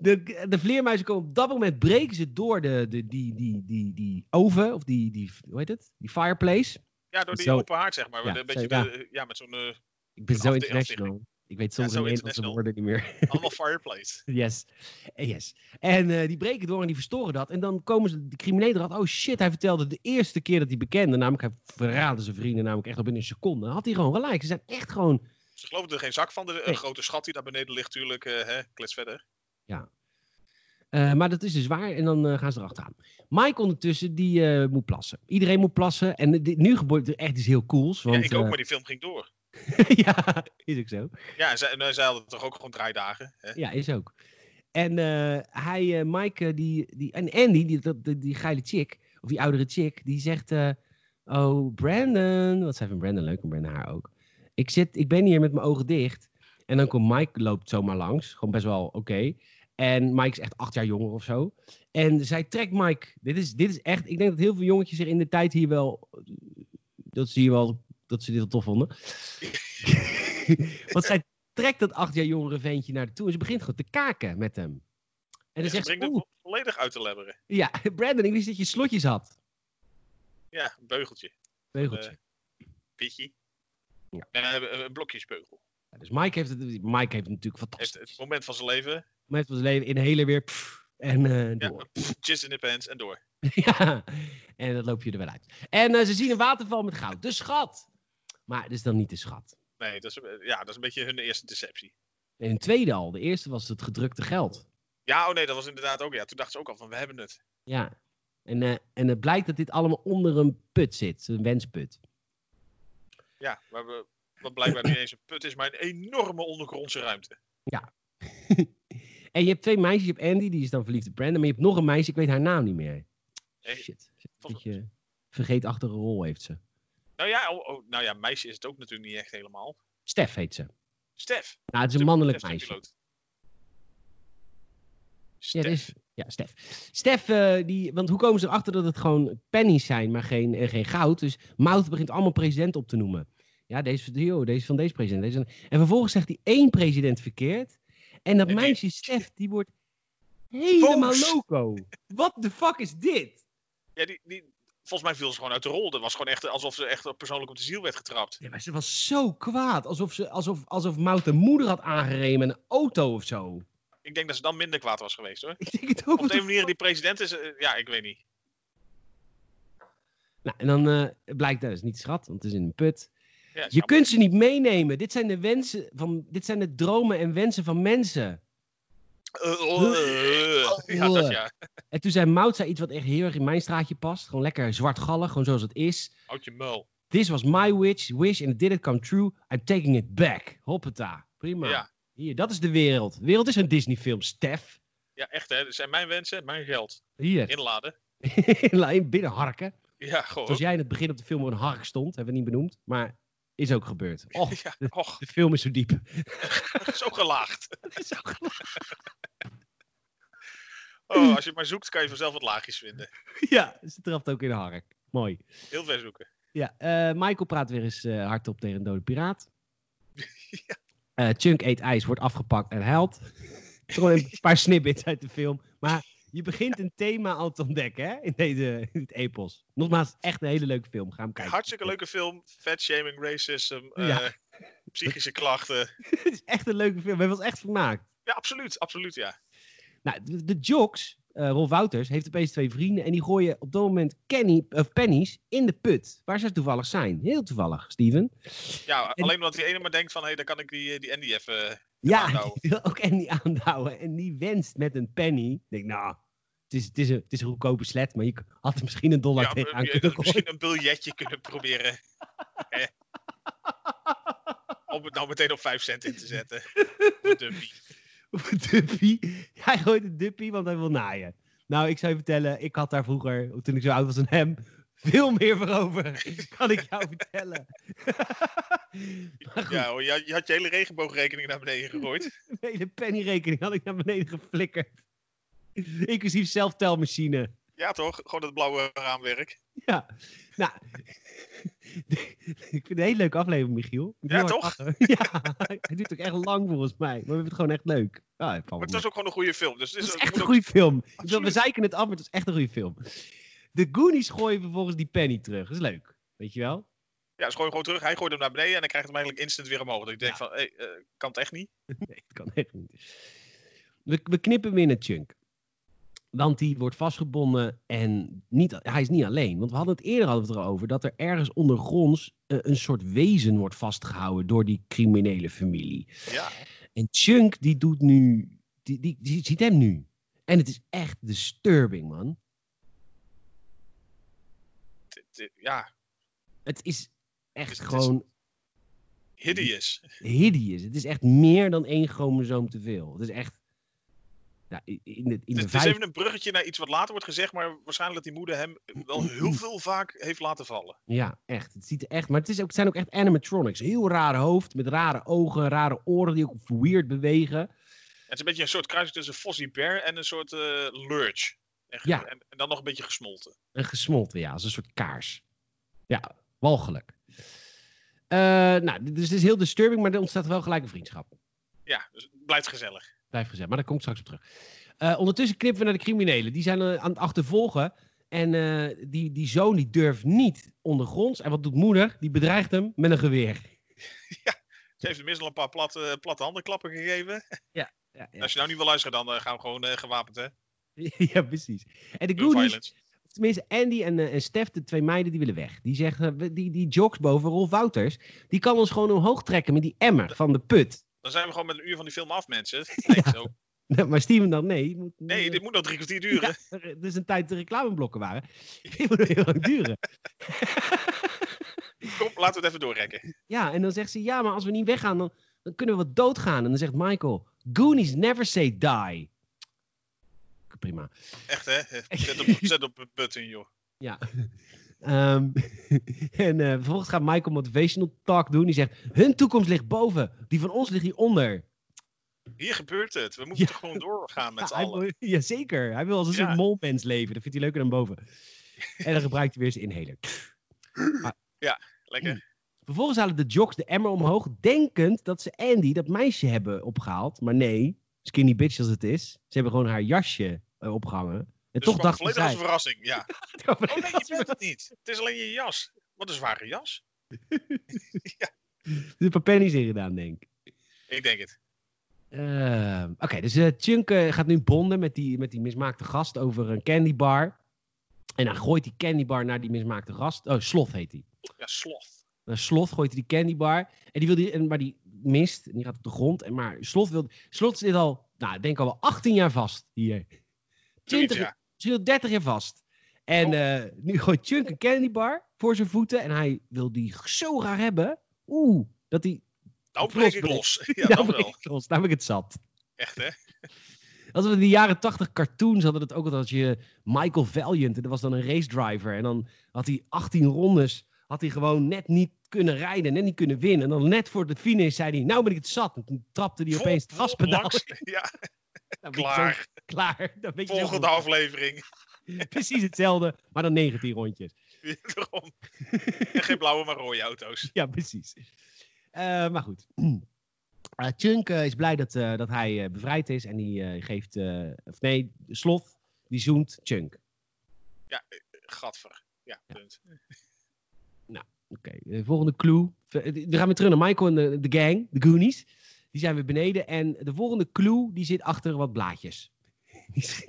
De, de vleermuizen komen op dat moment, breken ze door de, de, die, die, die, die oven, of die, die, hoe heet het? Die fireplace.
Ja, door die
Zo.
open haard, zeg maar.
Ja,
Met een beetje
zo, ja.
de- ja, met zo'n... eh,
Ik ben zo
Afde-
international. Ik weet soms
zo
de Nederlandse
international.
woorden niet meer.
allemaal fireplace.
Yes. Eh, yes. En eh, die breken door en die verstoren dat. En dan komen ze, de criminelen erachter. Oh shit, hij vertelde de eerste keer dat hij bekende. Namelijk, hij verraadde zijn vrienden namelijk echt al binnen een seconde. Had hij gewoon gelijk. Ze zijn echt gewoon...
Ze geloven er geen zak van. De een
Nee.
grote schat die daar beneden ligt, natuurlijk. eh, hè, klets verder.
eh, maar dat is dus waar. En dan eh, gaan ze erachteraan. Mike ondertussen, die eh, moet plassen. Iedereen moet plassen. En dit- nu gebeurt er echt iets heel cools. Want,
ja, ik ook,
eh,
maar die film ging door.
ja, is ook zo.
Ja, en zij, en zij hadden toch ook gewoon draaidagen. Hè?
Ja, is ook. En eh, hij, eh, Mike, eh, die, die, en Andy, die, dat- die, die geile chick, of die oudere chick, die zegt: eh, Oh, Brandon. Wat zei van Brandon leuk en Brandon haar ook. Ik, zit, ik ben hier met mijn ogen dicht. En dan komt Mike, loopt zomaar langs. Gewoon best wel oké. En Mike is echt acht jaar jonger of zo. En zij trekt Mike. Dit is, dit is echt. Ik denk dat heel veel jongetjes zich in de tijd hier wel. Dat ze hier wel. Dat ze dit wel tof vonden. Want zij trekt dat acht jaar jongere ventje naar de toe. En ze begint gewoon te kaken met hem. En dan
Ja,
zegt ze.
brengt hem
"Oeh,
volledig uit te lebberen.
ja, Brandon, ik wist dat je slotjes had.
Ja, een beugeltje.
Beugeltje.
Eh, Pietje.
Ja.
Eh, een- een blokjesbeugel.
Ja, dus Mike heeft, het, Mike heeft het natuurlijk
Heeft
fantastisch.
het moment van zijn leven.
Met van zijn leven in hele weer. pff, en eh,
Ja,
door.
pff, jizz in de pants en door.
Ja, en dat loop je er wel uit. En eh, ze zien een waterval met goud. De schat! Maar het is dan niet de schat.
Nee, dat is, een- ja, dat is een beetje hun eerste deceptie.
En een tweede al. De eerste was het gedrukte geld.
Ja, oh nee, dat was inderdaad ook. Ja, toen dachten ze ook al van, we hebben het.
Ja. En, eh, en het blijkt dat dit allemaal onder een put zit. Een wensput.
Ja, maar we, wat blijkbaar niet eens een put is, maar een enorme ondergrondse ruimte.
en je hebt twee meisjes. Je hebt Andy, die is dan verliefd op Brandon. Maar je hebt nog een meisje, ik weet haar naam niet meer. Shit. Een beetje vergeetachtige rol heeft ze.
Nou ja, oh, oh, nou ja, meisje is het ook natuurlijk niet echt helemaal.
Stef heet ze.
Stef.
Nou, het is een mannelijk meisje.
Stef.
Ja, dus- dat is, ja Stef. Stef, eh, die, want hoe komen ze erachter dat het gewoon pennies zijn, maar geen, eh, geen goud? Dus Mouth begint allemaal president op te noemen. Ja, deze, yo, deze van deze president. Deze, van- en vervolgens zegt hij één president verkeerd. En dat
En die-
meisje Stef, die wordt helemaal
Boos.
loco. What the fuck is dit?
Ja, die, die, volgens mij viel ze gewoon uit de rol. Dat was gewoon echt alsof ze echt persoonlijk op de ziel werd getrapt.
Ja, maar ze was zo kwaad. Alsof, ze, alsof, alsof Mout de moeder had aangereden met een auto of zo.
Ik denk dat ze dan minder kwaad was geweest hoor.
Ik denk het ook.
Op
wat
de
de
een manier die president is, eh, ja, ik weet niet.
Nou, en dan eh, blijkt dat is niet schat, want het is in een put.
Ja,
Je
snap ik.
kunt ze niet meenemen. Dit zijn de wensen van, dit zijn de dromen en wensen van mensen.
Eh, oh, eh, eh. ja, dat ja.
En toen zei Mout zei iets wat echt heel erg in mijn straatje past. Gewoon lekker zwartgallig, gewoon zoals het is.
Houd je muil.
This was my wish, wish and it didn't come true. I'm taking it back. Hoppata. Prima.
Ja.
Hier, dat is de wereld. De wereld is een Disney-film, Stef.
Ja, echt hè. Dat zijn mijn wensen, mijn geld.
Hier,
Inladen.
in binnenharken.
Ja, gewoon.
Zoals jij in het begin op de film een hark stond, hebben we niet benoemd. Maar is ook gebeurd. Och,
Ja,
de,
och,
de film is zo diep.
zo gelaagd.
Het is zo gelachen.
Oh, als je het maar zoekt, kan je vanzelf wat laagjes vinden.
ja, ze trapt ook in de hark. Mooi.
Heel ver zoeken.
Ja, eh, Michael praat weer eens eh, hardop tegen een dode piraat. Eh, Chunk eet ijs, wordt afgepakt en huilt. Gewoon een paar snippets uit de film. Maar je begint een thema al te ontdekken hè? In, deze, in dit epos. Nogmaals, echt een hele leuke film. Ga hem kijken.
Hartstikke leuke film. Fat shaming, racism,
eh,
eh,
Ja.
psychische klachten.
Het is echt een leuke film. We hebben ons echt vermaakt.
Ja, absoluut. Absoluut, ja.
Nou, de, de jocks, eh, Rolf Wouters, heeft opeens twee vrienden. En die gooien op dat moment Kenny, of pennies in de put. Waar ze toevallig zijn. Heel toevallig, Steven.
Ja, alleen omdat die ene maar denkt van, hé, daar kan ik die, eh, die Andy even...
Ja,
aanhouden.
die wil ook Andy aanhouden. En die wenst met een penny. Ik denk, nou, het is, het, is een, het is een goedkope slet. Maar je k- had er misschien een dollar
Ja,
tegenaan
eh, eh,
kunnen gooien.
misschien een biljetje kunnen proberen. Eh. Om het nou meteen op 5 cent in te zetten. Wat dumpy.
Of een duppie. Hij gooit een duppie, want hij wil naaien. Nou, ik zou je vertellen, ik had daar vroeger, toen ik zo oud was dan hem, veel meer voor over. kan ik jou vertellen. maar Nou goed,
Ja, hoor, je, had- je had je hele regenboogrekening naar beneden gegooid.
een hele pennyrekening had ik naar beneden geflikkerd. Inclusief zelftelmachine.
Ja, toch? Gewoon het blauwe raamwerk.
Ja, nou. ik vind het een hele leuke aflevering, Michiel. Ik moet
Ja,
heel hard
toch?
lachen. Ja, hij duurt ook echt lang volgens mij. Maar we hebben het gewoon echt leuk. Ah, het valt
Maar
wel
het was ook gewoon een goede film. Dus
mee.
het
Het is
is ook-
echt
moet
een
ook-
goede film. Ik bedoel, we
Absoluut.
zeiken het af, maar het is echt een goede film. De Goonies gooien vervolgens die penny terug. Dat is leuk. Weet je wel?
Ja, ze gooien gewoon terug. Hij gooit hem naar beneden en dan krijgt hem eigenlijk instant weer omhoog. Dat ik denk
Ja.
van, hé, eh, kan het echt niet?
Nee, dat kan echt niet. We, we knippen weer naar Chunk. Want die wordt vastgebonden en niet, hij is niet alleen. Want we hadden het eerder hadden we het erover dat er ergens ondergronds eh, een soort wezen wordt vastgehouden door die criminele familie.
Ja.
En Chunk die doet nu, die, die, die ziet hem nu. En het is echt disturbing, man.
t- t- Ja,
Het is echt
Dus het is-
gewoon
hideous.
hideous. Het is echt meer dan één chromosoom te veel. Het is echt. Nou, in de, in de
Het is- het is
vijf-
even een bruggetje naar iets wat later wordt gezegd, maar waarschijnlijk dat die moeder hem wel heel veel vaak heeft laten vallen.
Ja, echt. Het ziet er echt. Maar het, is ook, het zijn ook echt animatronics. Heel raar hoofd met rare ogen, rare oren die ook weird bewegen.
Het is een beetje een soort kruising tussen Fozzie Bear en een soort eh, lurch. En, ge-
Ja.
en, en dan nog een beetje gesmolten.
En gesmolten, ja, als een soort kaars. Ja, walgelijk. Eh, nou, dus het is heel disturbing, maar er ontstaat wel gelijk een vriendschap.
Ja, dus het blijft gezellig.
Blijf gezegd, maar daar kom ik straks op terug. Eh, ondertussen knippen we naar de criminelen. Die zijn eh, aan het achtervolgen. En eh, die, die zoon die durft niet ondergronds. En wat doet moeder? Die bedreigt hem met een geweer.
Ze heeft tenminste al een paar platte, platte handenklappen gegeven.
Ja,
Als je nou niet wil luisteren, dan eh, gaan we gewoon eh, gewapend, hè?
ja, precies. En de
Doe
Goonies,
violence.
Of Tenminste, Andy en, eh, en Stef, de twee meiden, die willen weg. Die zeggen, we- die, die jogs boven Rolf Wouters, die kan ons gewoon omhoog trekken met die emmer van de put.
Dan zijn we gewoon met een uur van die film af, mensen. Denk zo.
maar Steven dan, nee. je Moet,
Nee, dit moet nog drie kwartier duren.
er er is een tijd de reclameblokken waren. Dit moet heel lang duren.
Kom, laten we het even doorrekken.
Ja, en dan zegt ze, ja, maar als we niet weggaan, dan, dan kunnen we wat doodgaan. En dan zegt Michael, Goonies never say die. prima.
Echt, hè? Zet op, zet op een button, joh.
Ja. Ehm, en eh, vervolgens gaat Michael motivational talk doen. Die zegt, hun toekomst ligt boven. Die van ons ligt hieronder.
Hier gebeurt het. We moeten
Ja.
er gewoon doorgaan met z'n
Ja, hij
allen.
wil- Jazeker. Hij wil als een
Ja.
soort molmens leven. Dat vindt hij leuker dan boven. En dan gebruikt hij weer zijn inhaler. Mm.
Lekker.
Vervolgens halen de jocks de emmer omhoog, denkend dat ze Andy, dat meisje, hebben opgehaald. Maar nee, skinny bitch als het is. Ze hebben gewoon haar jasje eh, opgehangen. En
Dus
toch
het kwam
dacht ik.
volledig als een verrassing. Ja. Oh nee, je bent
De
het niet. Het is alleen je jas. Wat een zware jas.
papennies in gedaan, denk ik.
Ik denk het.
Ehm, Oké, dus eh, Chunk eh, gaat nu bonden met die, met die mismaakte gast over een candybar. En dan gooit die candybar naar die mismaakte gast. Oh, Sloth heet die.
Ja, sloth.
Naar Sloth Eh, gooit hij die candybar. En die wil die, en, maar die mist. En die gaat op de grond. En maar Sloth wil. Sloth zit al, nou, ik denk al wel 18 jaar vast hier. 20,
Zoiets, ja.
misschien wel 30 jaar vast. En
Oh.
eh, nu gooit Chunk een candybar voor zijn voeten. En hij wil die zo graag hebben. Oeh, dat hij. Vlos
Nou breek ik
breekt.
los. Ja, dat
ben
wel.
ik trots, nou ben ik het zat.
Echt, hè?
Als we in de jaren 80 cartoons hadden dat ook altijd als je Michael Valiant. En dat was dan een race driver. En dan had hij 18 rondes. Had hij gewoon net niet kunnen rijden, net niet kunnen winnen. En dan net voor de finish zei hij, nou ben ik het zat. En toen trapte hij
Vol-
opeens het
vol
gaspedaal.
langs. Ja,
Dan ben je zo-
klaar.
Klaar. Dan ben je zo
Volgende aflevering.
Precies hetzelfde, maar dan 19 rondjes.
Wederom. En geen blauwe, maar rode auto's.
Ja, precies. Eh, maar goed. Eh, Chunk eh, is blij dat, eh, dat hij eh, bevrijd is en die eh, geeft, eh, of nee, Sloth, die zoent Chunk.
Gadver. Ja, punt.
Oké, eh, volgende clue. Ver- eh, We gaan weer terug naar Michael en de, de gang, de Goonies. Die zijn weer beneden en de volgende clue die zit achter wat blaadjes. Die sch-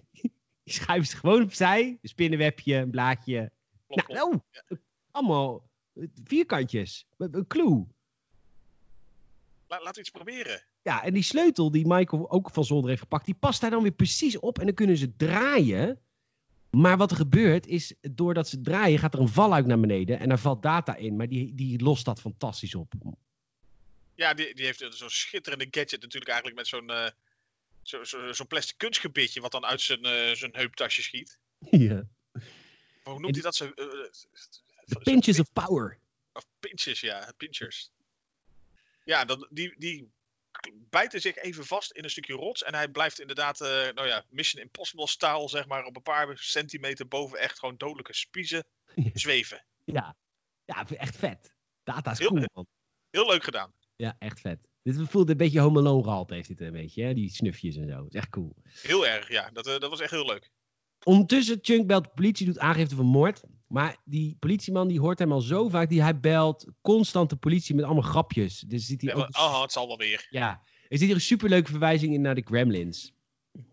die schuiven ze gewoon opzij. Een spinnenwebje, een blaadje,
Plop, plop.
Nou, oh, allemaal eh, vierkantjes. Met Een clue.
La- laten we iets proberen.
Ja, en die sleutel die Michael ook van zolder heeft gepakt, die past daar dan weer precies op. En dan kunnen ze draaien. Maar wat er gebeurt is, doordat ze draaien, gaat er een valluik naar beneden. En daar valt data in. Maar die, die lost dat fantastisch op.
Ja, die, die heeft zo'n schitterende gadget natuurlijk eigenlijk met zo'n eh, zo, zo, zo'n plastic kunstgebitje wat dan uit zijn, eh, zijn heuptasje schiet.
Ja.
Maar hoe
En
noemt hij dat? Zo, eh, eh,
De pinches of power.
Of pinches, ja. Pinchers. Ja, dat, die, die bijten zich even vast in een stukje rots. En hij blijft inderdaad, eh, nou ja, Mission Impossible style, zeg maar, op een paar centimeter boven echt gewoon dodelijke spiezen zweven.
Ja. ja, echt vet. Data is
Heel
cool,
vet.
man.
Heel leuk gedaan.
Ja, echt vet. Dit voelt een beetje Home Alone gehaald, heeft dit een beetje. Hè? Die snufjes en zo. is echt cool.
Heel erg, ja. Dat, eh, dat was echt heel leuk.
Ondertussen, Chunk belt de politie, doet aangifte van moord. Maar die politieman die hoort hem al zo vaak. Die, hij belt constant de politie met allemaal grapjes. Dus ziet hij
Ja,
ook...
maar- oh, het zal wel weer.
Ja, er zit hier een superleuke verwijzing in naar de Gremlins.
Ja,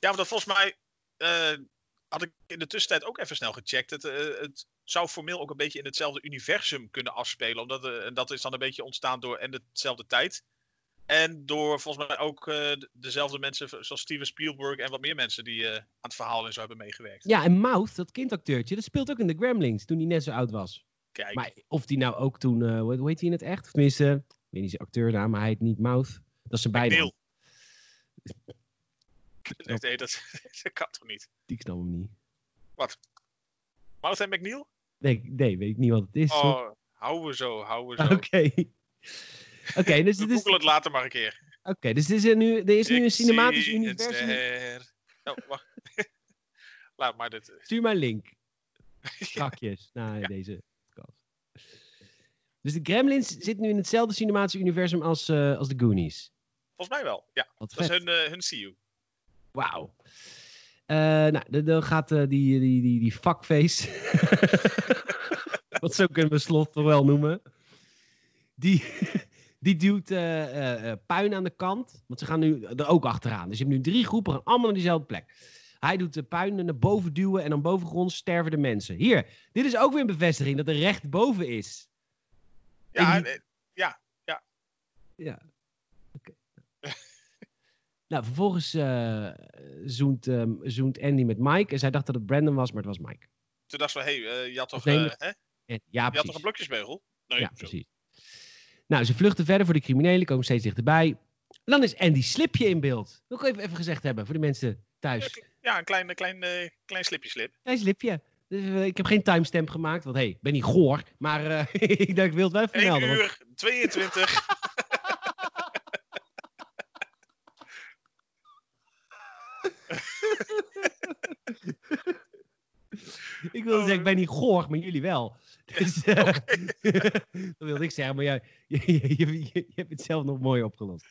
want dat volgens mij eh, had ik in de tussentijd ook even snel gecheckt. Het, eh, het zou formeel ook een beetje in hetzelfde universum kunnen afspelen. Omdat, eh, en dat is dan een beetje ontstaan door en dezelfde tijd. En door volgens mij ook eh, de- dezelfde mensen zoals Steven Spielberg en wat meer mensen die eh, aan het verhaal en zo hebben meegewerkt.
Ja, en Mouth, dat kindacteurtje, dat speelt ook in de Gremlins toen hij net zo oud was.
Kijk,
Maar of die nou ook toen, eh, hoe hoe heet hij in het echt? Of tenminste, ik weet niet zijn acteurnaam, maar hij heet niet Mouth. Dat is zijn bijnaam.
Neil. Nee, nee, dat, dat kan toch niet?
Ik snap hem niet.
Martin McNeil?
Nee, nee, weet ik niet wat het is. hoor.
Oh, houden we zo, houden we zo.
Oké. Oké, dus
We
het is,
googelen het later maar een keer.
Oké, dus er is, nu, er is nu een
Ik
cinematisch
zie een
universum.
ster. Oh, wacht. Laat maar dit.
Stuur maar een link. Strakjes naar
Ja.
deze podcast. Dus de Gremlins zit nu in hetzelfde cinematische universum als, eh, als de Goonies.
Volgens mij wel. Ja,
Wat
dat is
vet.
hun, eh hun CU.
Wauw. Eh, nou, dan- dan gaat eh, die, die, die, die fuckface. Wat zo kunnen we slot toch wel noemen. Die, die duwt eh, eh, eh, puin aan de kant. Want ze gaan nu er ook achteraan. Dus je hebt nu drie groepen, gaan allemaal naar diezelfde plek. Hij doet de puin naar boven duwen en dan bovengronds sterven de mensen. Hier, dit is ook weer een bevestiging dat er recht boven is.
Ja,
die-
eh,
Nou, vervolgens eh, zoent, eh, zoent Andy met Mike. En zij dacht dat het Brandon was, maar het was Mike.
toen dacht ze van, hé, hey, eh, je had toch,
Nee,
eh,
maar-
hè?
En, ja,
je had
precies.
toch een blokjesbeugel? Nee,
ja,
zo.
precies. Nou, ze vluchten verder voor de criminelen, komen steeds dichterbij. En dan is Andy Slipje in beeld. Wil ik even, even gezegd hebben voor de mensen thuis.
Ja, een klein, klein, eh, klein slipje slip.
Hij is lipje. Dus, eh, ik heb geen timestamp gemaakt, want hey, ik ben niet goor. Maar eh, ik dacht, ik wil het wel even
1
melden. want-
uur 22.
Ik wilde
Oh,
zeggen, ik ben niet goor, maar jullie wel. Dus, eh, dat wilde ik zeggen, maar jij, je, je, je- je hebt het zelf nog mooi opgelost.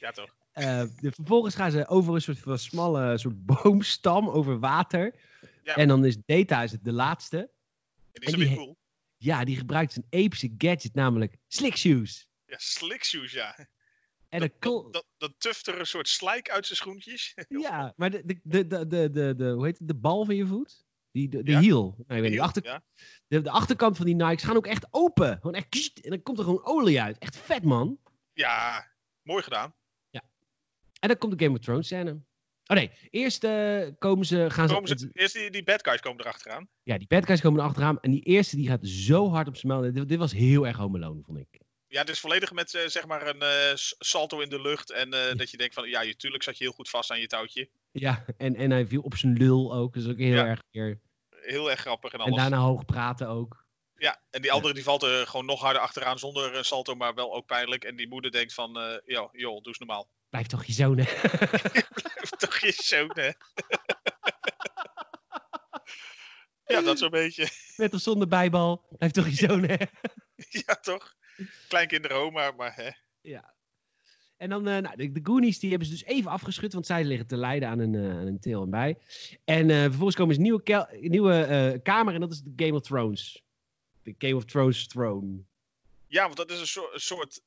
Ja, toch?
Eh, de, vervolgens gaan ze over een soort van smalle soort boomstam over water.
Ja.
En dan is Data is het de laatste.
En die is
En
weer
die-
cool.
Ja, die gebruikt zijn epische gadget, namelijk slick shoes.
Ja, slick shoes, ja.
En
dat,
een kl-
dat, dat, dat tuft er een soort slijk uit zijn schoentjes.
Ja, maar de, de, de, de, de, de, de- hoe heet het, de bal van je voet? Die, de, de
Ja.
heel. Nou, ik weet niet, de,
Heel,
achter,
ja.
de, de achterkant van die Nikes gaan ook echt open. Gewoon echt, kst, en dan komt er gewoon olie uit. Echt vet, man.
ja, mooi gedaan.
Ah, En dan komt de Game of Thrones scène. Oh nee, eerst eh, komen ze, gaan
Komen
ze,
ze, eerst die, die bad guys komen erachteraan.
Ja, die bad guys komen erachteraan. En die eerste die gaat zo hard op smelten. Dit, dit was heel erg Home Alone, vond ik.
Ja, het is volledig met eh, zeg maar een eh, s- salto in de lucht. En eh, dat je denkt van, ja, je, tuurlijk zat je heel goed vast aan je touwtje.
Ja, en, en hij viel op zijn lul ook. Dus ook heel
Ja,
erg weer.
Heel erg grappig en alles.
En daarna hoog praten ook.
Ja, en die andere die valt er gewoon nog harder achteraan zonder eh, salto, maar wel ook pijnlijk. En die moeder denkt van, eh, joh, joh, doe eens normaal.
Blijf toch je zoon, hè?
Toch je zoon, hè? ja, dat zo'n beetje.
Met of zonder bijbal. Blijf toch je zoon, hè?
ja, toch? Kleinkinderen oma, maar hè.
En dan, eh, nou, de, de Goonies, die hebben ze dus even afgeschud, want zij liggen te lijden aan een, eh, aan een teel en bij. En eh, vervolgens komen ze een nieuwe, kel- een nieuwe eh, kamer en dat is de Game of Thrones. De Game of Thrones throne.
Ja, want dat is een, soort- een soort...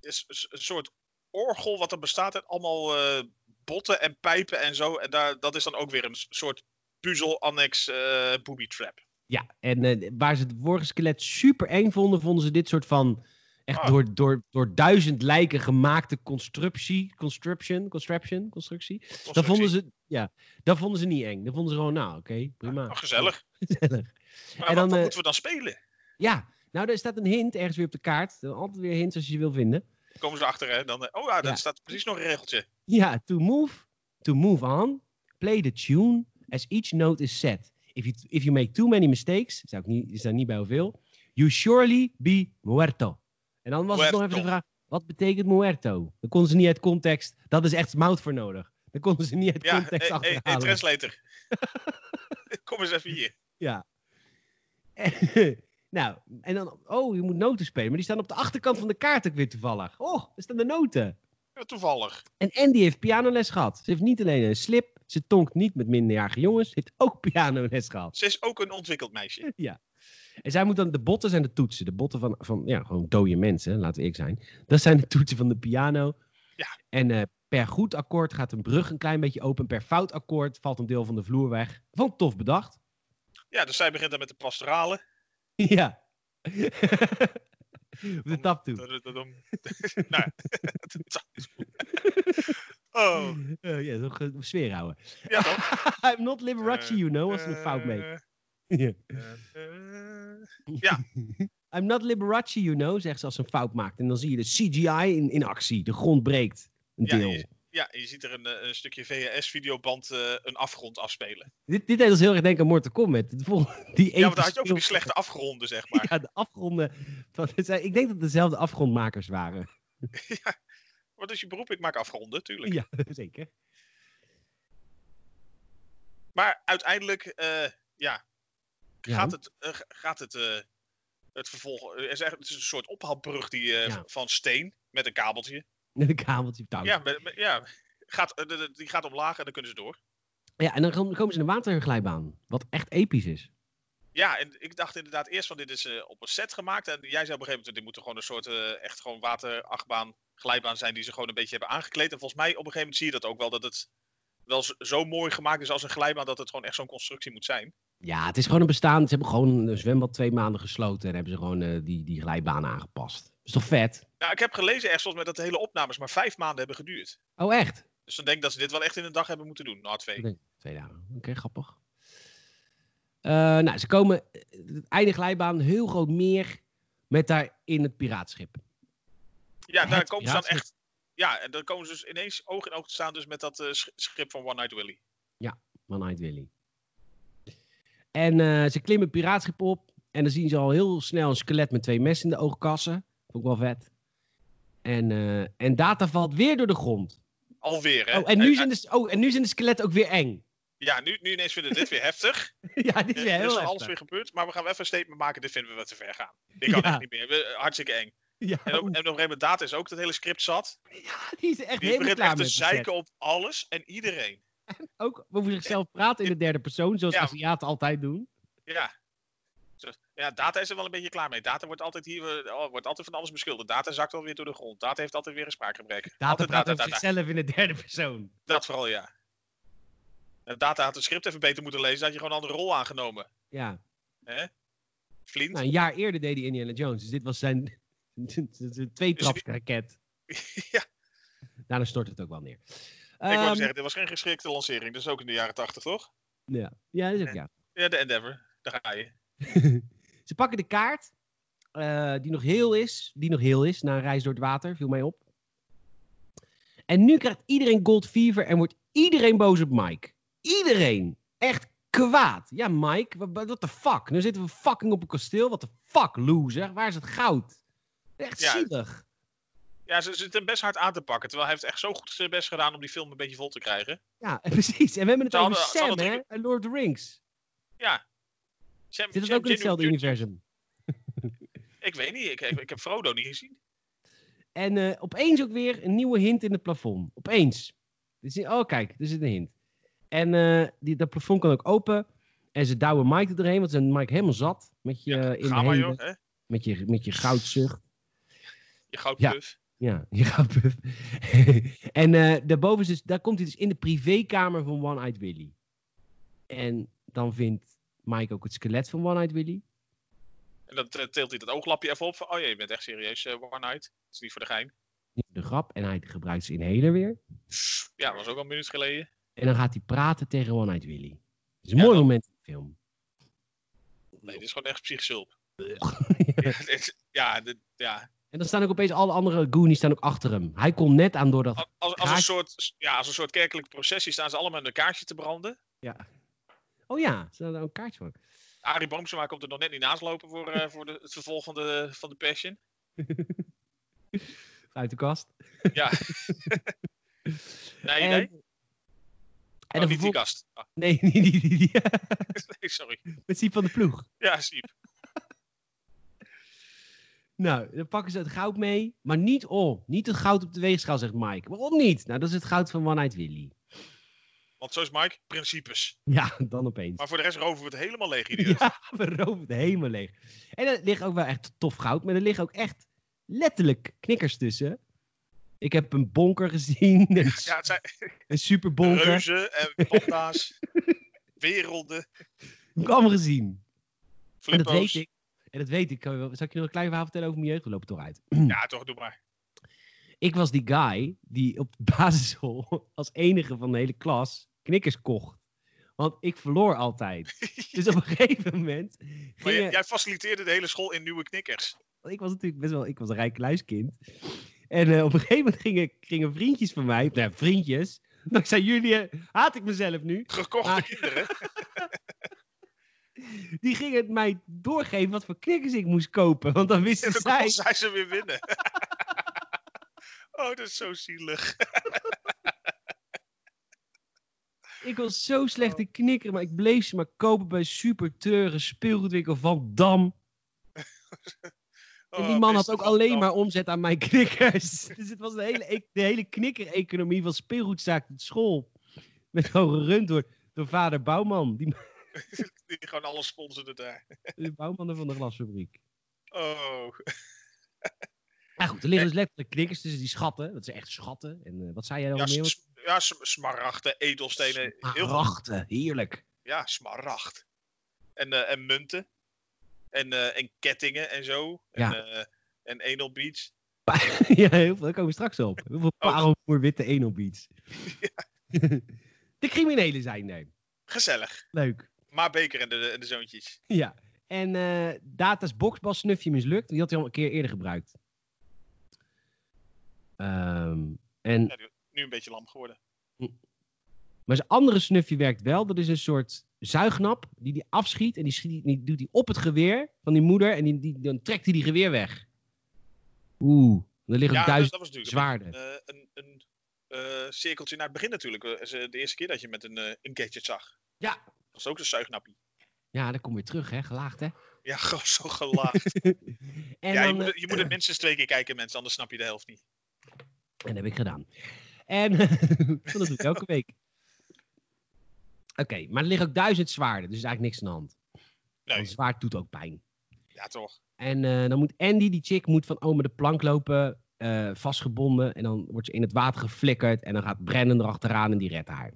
Is, is een soort orgel wat er bestaat uit allemaal eh, botten en pijpen en zo. En daar, dat is dan ook weer een s- soort puzzel-annex eh booby trap.
Ja, en eh, waar ze het vorige skelet super eng vonden, vonden ze dit soort van echt
Ah.
door, door, door duizend lijken gemaakte constructie, construction, construction, constructie. Dat vonden ze, ja, dat vonden ze niet eng. Dat vonden ze gewoon, nou, oké, prima.
Oh, gezellig.
Gezellig.
Maar
En
wat,
dan,
wat
eh,
moeten we dan spelen?
Ja, nou, daar staat een hint ergens weer op de kaart. Altijd weer hints als je ze wil vinden.
Komen ze erachter, hè? Dan, eh, oh ja, daar
Ja.
staat precies nog een regeltje.
Ja, to move, to move on, play the tune as each note is set. If you, if you make too many mistakes, zou ik niet, is daar niet bij hoeveel, you surely be muerto. En dan was het nog even de
Muerto.
vraag, wat betekent muerto? Dan konden ze niet uit context, dat is echt mout voor nodig. Dan konden ze niet uit
Ja, e- hé,
context
hey,
achterhalen.
translator. Kom eens even hier.
En- nou, en dan, oh, je moet noten spelen, maar die staan op de achterkant van de kaart ook weer toevallig. Oh, daar staan de noten.
Ja, toevallig.
En Andy heeft pianoles gehad. Ze heeft niet alleen een slip, ze tonkt niet met minderjarige jongens, ze heeft ook pianoles gehad.
Ze is ook een ontwikkeld meisje.
Ja. En zij moet dan de botten zijn de toetsen. De botten van, van ja, gewoon dode mensen, laten we eerlijk zijn. Dat zijn de toetsen van de piano.
Ja.
En eh, per goed akkoord gaat een brug een klein beetje open. Per fout akkoord valt een deel van de vloer weg. Vond tof bedacht.
Ja, dus zij begint dan met de pastorale.
ja. Op de tap toe.
Dadadadam. nou, ja, dat is goed. Oh,
Eh, ja, zo ge- sfeer houden.
ja Eh, toch?
I'm not Liberace, you know, als ze een fout mee. Ja.
eh, Ja.
I'm not Liberace, you know, zegt ze als ze een fout maakt. En dan zie je de CGI in, in actie. De grond breekt. Een
Ja,
deel.
je- Ja, je ziet er een, eh, een stukje VHS-videoband een afgrond afspelen.
Dit, dit deed ons heel erg denken aan Mortal Kombat. De volgende- die
Ja,
ene
want daar had je ook van die
speel-
slechte afgronden, zeg maar.
Ja, de afgronden. Van, het zijn- ik denk dat het dezelfde afgrondmakers waren.
Wat is je beroep? Ik maak afgronden, tuurlijk.
Ja, zeker.
Maar uiteindelijk, eh, ja,
Ja.
gaat het, eh, g- gaat het, eh, het vervolg. eh, er is eigenlijk- het is een soort ophaalbrug die, eh,
Ja.
van steen met een kabeltje.
Met een kabeltje op touw.
Ja, met- met- ja gaat, eh, de- de- die gaat omlaag en dan kunnen ze door.
Ja, en dan kom- komen ze in een waterglijbaan. Wat echt episch is.
Ja, en ik dacht inderdaad eerst van dit is eh, op een set gemaakt. En jij zei op een gegeven moment, dit moet er gewoon een soort eh, echt gewoon waterachtbaan, glijbaan zijn die ze gewoon een beetje hebben aangekleed. En volgens mij op een gegeven moment zie je dat ook wel, dat het wel zo, zo mooi gemaakt is als een glijbaan, dat het gewoon echt zo'n constructie moet zijn.
Ja, het is gewoon een bestaan. Ze hebben gewoon een zwembad twee maanden gesloten. En hebben ze gewoon eh, die, die glijbaan aangepast. Is toch vet?
Nou, ik heb gelezen ergens volgens mij dat de hele opnames maar vijf maanden hebben geduurd.
Oh, echt?
Dus dan denk ik dat ze dit wel echt in een dag hebben moeten doen. Nou, twee.
Nee. Twee dagen. Oké, grappig. Eh, nou, ze komen. Het einde glijbaan, heel groot meer. Met daar in het piraatschip.
Ja, daar
Het
komen ze dan
piraatschip.
echt. Ja, en dan komen ze dus ineens oog in oog te staan dus met dat eh, sch- schip van One Night Willy.
Ja, One Eyed Willy. En eh, ze klimmen het piraatschip op. En dan zien ze al heel snel een skelet met twee messen in de oogkassen. Vond ik wel vet. En, eh, en Data valt weer door de grond.
Alweer, hè? eh,
Oh, en nu zijn de, oh, en nu zijn de skeletten ook weer eng.
Ja, nu, nu ineens vinden we dit weer heftig.
ja, dit is
Er
weer
is
heel
van alles
heftig.
weer gebeurd, maar we gaan wel even een statement maken. Dit vinden we wat te ver gaan. Dit kan
Ja. Oh.
echt niet meer. We- eh, hartstikke eng.
Ja,
En op, en
oeh.
op een gegeven moment Data is ook dat hele script zat.
ja, die is echt
Die
helemaal
begint
klaar
echt te
met het vet.
zeiken op alles en iedereen.
Ook over zichzelf praten in de derde persoon, zoals
Ja.
Aziaten altijd doen.
Ja. Zo- Ja, Data is er wel een beetje klaar mee. Data wordt altijd, hier, eh, oh, wordt altijd van alles beschuldigd. Data zakt alweer door de grond. Data heeft altijd weer een spraakgebrek.
Data
Altijd
praat over zichzelf in de derde persoon.
Dat vooral, ja. En Data had het script even beter moeten lezen. Dan had je gewoon een andere rol aangenomen.
Ja.
Vliend.
Nou, een jaar eerder deed hij Indiana Jones, dus dit was zijn tweetrapsraket.
Ja.
Daarna stort het ook wel neer.
Ik wou
Ehm,
zeggen, dit was geen geschikte lancering. Dat is ook in de jaren 80, toch?
ja. ja,
eh,
dat is ook ja.
Ja, de Endeavor. Daar ga je.
Ze pakken de kaart, eh, die nog heel is, die nog heel is, na een reis door het water, viel mij op. En nu krijgt iedereen gold fever en wordt iedereen boos op Mike. Iedereen. Echt kwaad. Ja, Mike, wa- wa- what the fuck? Nu zitten we fucking op een kasteel. What the fuck, loser? Waar is het goud? Echt
Ja.
zielig.
Ja, ze ze zitten hem best hard aan te pakken. Terwijl hij heeft echt zo goed zijn best gedaan om die film een beetje vol te krijgen.
Ja, precies. En we hebben het
Ze
over
hadden- ze
Sam,
hadden
hè? En Lord of the Rings.
Sam,
Zit het
Sam
ook in
Jin-
hetzelfde
Jin-
universum?
Ik weet niet. Ik, ik, ik heb Frodo niet gezien.
En eh, opeens ook weer een nieuwe hint in het plafond. Opeens. Dus, oh, kijk, er zit een hint. En eh, die, dat plafond kan ook open. En ze douwen Mike er doorheen, want ze zijn Mike helemaal zat. Met je, eh, in de
Ga maar,
hemden,
joh. Hè?
met je, met je goudzucht.
Je
Ja.
goudpuff.
Ja, je goudpuff. en eh, daarboven is dus, daar komt hij dus in de privékamer van One-Eyed Willy. En dan vindt Mike ook het skelet van One-Eyed Willy.
En dan eh, tilt hij dat ooglapje even op. Van, oh jee, je bent echt serieus, eh One Night. Het is niet voor de gein.
Niet voor de grap. En hij gebruikt ze in Heler weer.
Ja, dat was ook al een minuut geleden.
En dan gaat hij praten tegen One-Eyed Willy. Het is een
Ja,
mooi
dat-
moment in de film.
Nee, dit is gewoon echt psychisch hulp. Ja, dit- ja, dit- ja.
En dan staan ook opeens alle andere Goonies staan ook achter hem. Hij kon net aan door dat.
Als, als, als een
Kaartje.
soort, ja, als een soort kerkelijke processie staan ze allemaal in een kaarsje te branden.
Ja. Oh ja, ze hadden ook een kaartje voor.
Arie Boomsema komt er nog net niet naast lopen voor, eh, voor de, het vervolg van de, van de Passion.
Uit de kast.
Ja. nee,
en,
nee.
en dan
Oh, niet die
vervol-
gast. Ah,
Nee, niet die, die, die.
nee, sorry.
Met Siep van de ploeg.
Ja, Siep.
Nou, dan pakken ze het goud mee. Maar niet oh, Niet het goud op de weegschaal, zegt Mike. Waarom niet? Nou, dat is het goud van One Night Willy.
Want zo is Mike, principes.
Ja, dan opeens.
Maar voor de rest roven we het helemaal leeg hier. dus.
Ja, we roven het helemaal leeg. En er ligt ook wel echt tof goud. Maar er liggen ook echt letterlijk knikkers tussen. Ik heb een bonker gezien. Een,
Ja, het zijn
een superbonker.
reuzen en panda's, werelden,
Heb ik allemaal gezien. En dat weet
flippo's.
ik. En dat weet ik. Kan je wel- Zal ik je nog een klein verhaal vertellen over mijn jeugd? We lopen toch uit.
Ja, toch, doe maar.
Ik was die guy die op de basisschool als enige van de hele klas knikkers kocht. Want ik verloor altijd. Dus op een gegeven moment
Maar
ging
jij,
er-
jij faciliteerde de hele school in nieuwe knikkers.
want Ik was natuurlijk best wel... Ik was een rijk luiskind. En eh, op een gegeven moment gingen, gingen vriendjes van mij... Nou, vriendjes. Dankzij jullie eh, haat ik mezelf nu.
Gekochte
Maar-
kinderen.
Die gingen het mij doorgeven wat voor knikkers ik moest kopen. Want dan
En
wisten
dan
zij...
kon zij ze weer winnen. oh, dat is zo zielig.
Ik was zo
Oh.
slecht in knikkeren, maar ik bleef ze maar kopen bij Super Teuren, speelgoedwinkel Van Dam. En
Oh,
die man had
meester
ook
Van Dam.
alleen maar omzet aan mijn knikkers. Dus het was de hele, e- de hele knikker-economie van speelgoedzaak tot school. Met gewoon gerund door, door vader Bouwman. Die,
Die gewoon alles sponsorde daar.
de bouwman van de glasfabriek.
Oh,
Ja goed, er liggen dus letterlijk knikkers tussen die schatten. Dat zijn echt schatten. En eh, wat zei jij dan
ja,
nog meer?
s- ja s- smaragden, edelstenen. Heel veel.
Smaragden, heerlijk.
Ja, smaragd. En, eh, en munten. En, eh, en kettingen en zo. En, eh en anal beads.
Ja, heel veel. Daar komen we straks op. Heel veel
Oh.
parelmoerwitte enelbeats. De criminelen zijn er.
Gezellig.
Leuk.
Maar Beker en de, en de zoontjes.
Ja. En eh, Data's boxbal snufje mislukt. Die had hij al een keer eerder gebruikt. Ehm, en
Nu een beetje lam geworden.
Maar zijn andere snufje werkt wel. Dat is een soort zuignap die die afschiet. En die, schiet, die doet hij op het geweer van die moeder. En die, die, dan trekt hij die geweer weg. Oeh, er liggen
Ja, dat,
duizend
dat was natuurlijk
zwaarden.
eh, een, een eh, cirkeltje naar het begin natuurlijk. Eh, is, eh, de eerste keer dat je met een, eh, een gadget zag.
Ja.
Dat was ook een zuignappie.
Ja, dan kom je terug, hè? Gelaagd, hè?
Ja, gewoon zo gelaagd.
En
ja, je,
dan,
moet,
eh,
het- je moet het minstens twee keer kijken, mensen. Anders snap je de helft niet.
En dat heb ik gedaan. En dat doe ik elke week. Oké, maar er liggen ook duizend zwaarden, dus er is eigenlijk niks aan de hand.
Nee.
Want zwaard doet ook pijn.
Ja, toch.
En eh, dan moet Andy, die chick, moet van oma de plank lopen, eh, vastgebonden. En dan wordt ze in het water geflikkerd. En dan gaat Brennan erachteraan en die redt haar.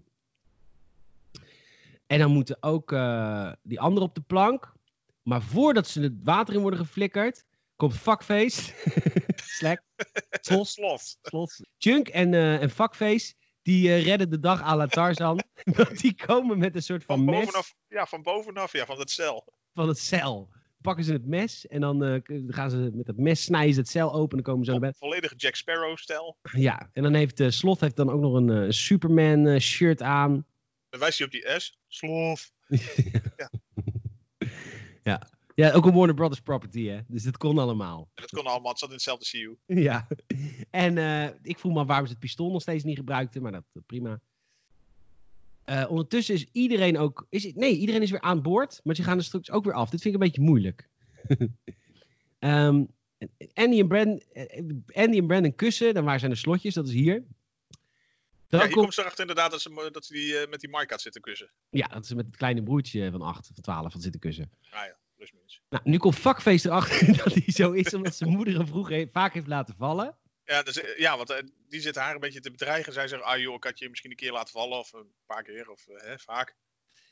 En dan moeten ook eh, die anderen op de plank. Maar voordat ze het water in worden geflikkerd, komt Fuckface. Slack. Tos.
Slot.
Slot. Junk en, eh en Fuckface, die eh, redden de dag à la Tarzan. Want die komen met een soort van
Van
mes
bovenaf. Ja, van bovenaf. Ja, van dat cel.
van het cel. Pakken ze het mes en dan eh, k- gaan ze met dat mes snijden ze het cel open en dan komen ze naar bed.
Volledig Jack Sparrow-stijl.
Ja, en dan heeft eh, Slot heeft dan ook nog een eh, Superman eh, shirt aan.
Dan wijst hij op die S. Slof.
Ja, ook een Warner Brothers property hè, dus dat kon allemaal.
En dat kon allemaal. Het zat in hetzelfde CU.
Ja. En eh, ik vroeg me af waarom ze het pistool nog steeds niet gebruikten, maar dat dat prima. Eh, ondertussen is iedereen ook. Is, het- nee, iedereen is weer aan boord, maar ze gaan er straks ook weer af. Dit vind ik een beetje moeilijk. Ehm, Andy, en Brand, eh, Andy en Brandon kussen, dan waar zijn de slotjes? Dat is hier. Dan
Ja, hier
komt-
komt ze erachter inderdaad dat ze, mo- dat ze die, eh, met die Mike had zitten kussen.
ja, dat ze met het kleine broertje van 8 of 12 van zitten kussen.
Plus minus.
Nou, nu komt vakfeest erachter dat hij zo is, omdat zijn moeder hem vroeg he- vaak heeft laten vallen.
Ja, dus, eh, ja, want eh, die zit haar een beetje te bedreigen. Zij zegt, ah joh, ik had je misschien een keer laten vallen. Of een paar keer, of eh, hè, vaak.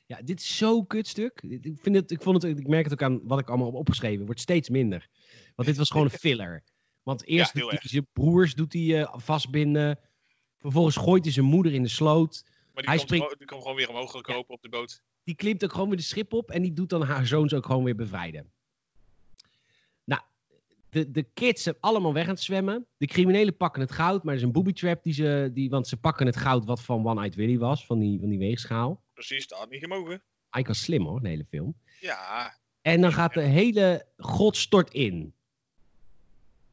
Ja, dit is zo'n kutstuk. Dit- Ik, vind het, ik, vond het, ik merk het ook aan wat ik allemaal heb opgeschreven. Het wordt steeds minder. Want dit was gewoon een filler. Want eerst
heel
doet hij
erg.
zijn broers doet hij, eh, vastbinden. Vervolgens gooit hij zijn moeder in de sloot.
Maar die,
Hij
komt,
springt-
gewoon- die komt gewoon weer omhoog gekropen op de boot.
Die klimt ook gewoon weer de schip op. En die doet dan haar zoons ook gewoon weer bevrijden. Nou, de, de kids zijn allemaal weg aan het zwemmen. De criminelen pakken het goud. Maar er is een booby trap. Die ze, die, want ze pakken het goud wat van One-Eyed Willy was. Van die, van die weegschaal.
Precies, dat had niet gemogen.
Eigenlijk was slim hoor, de hele film.
Ja,
En dan gaat de hele god stort in.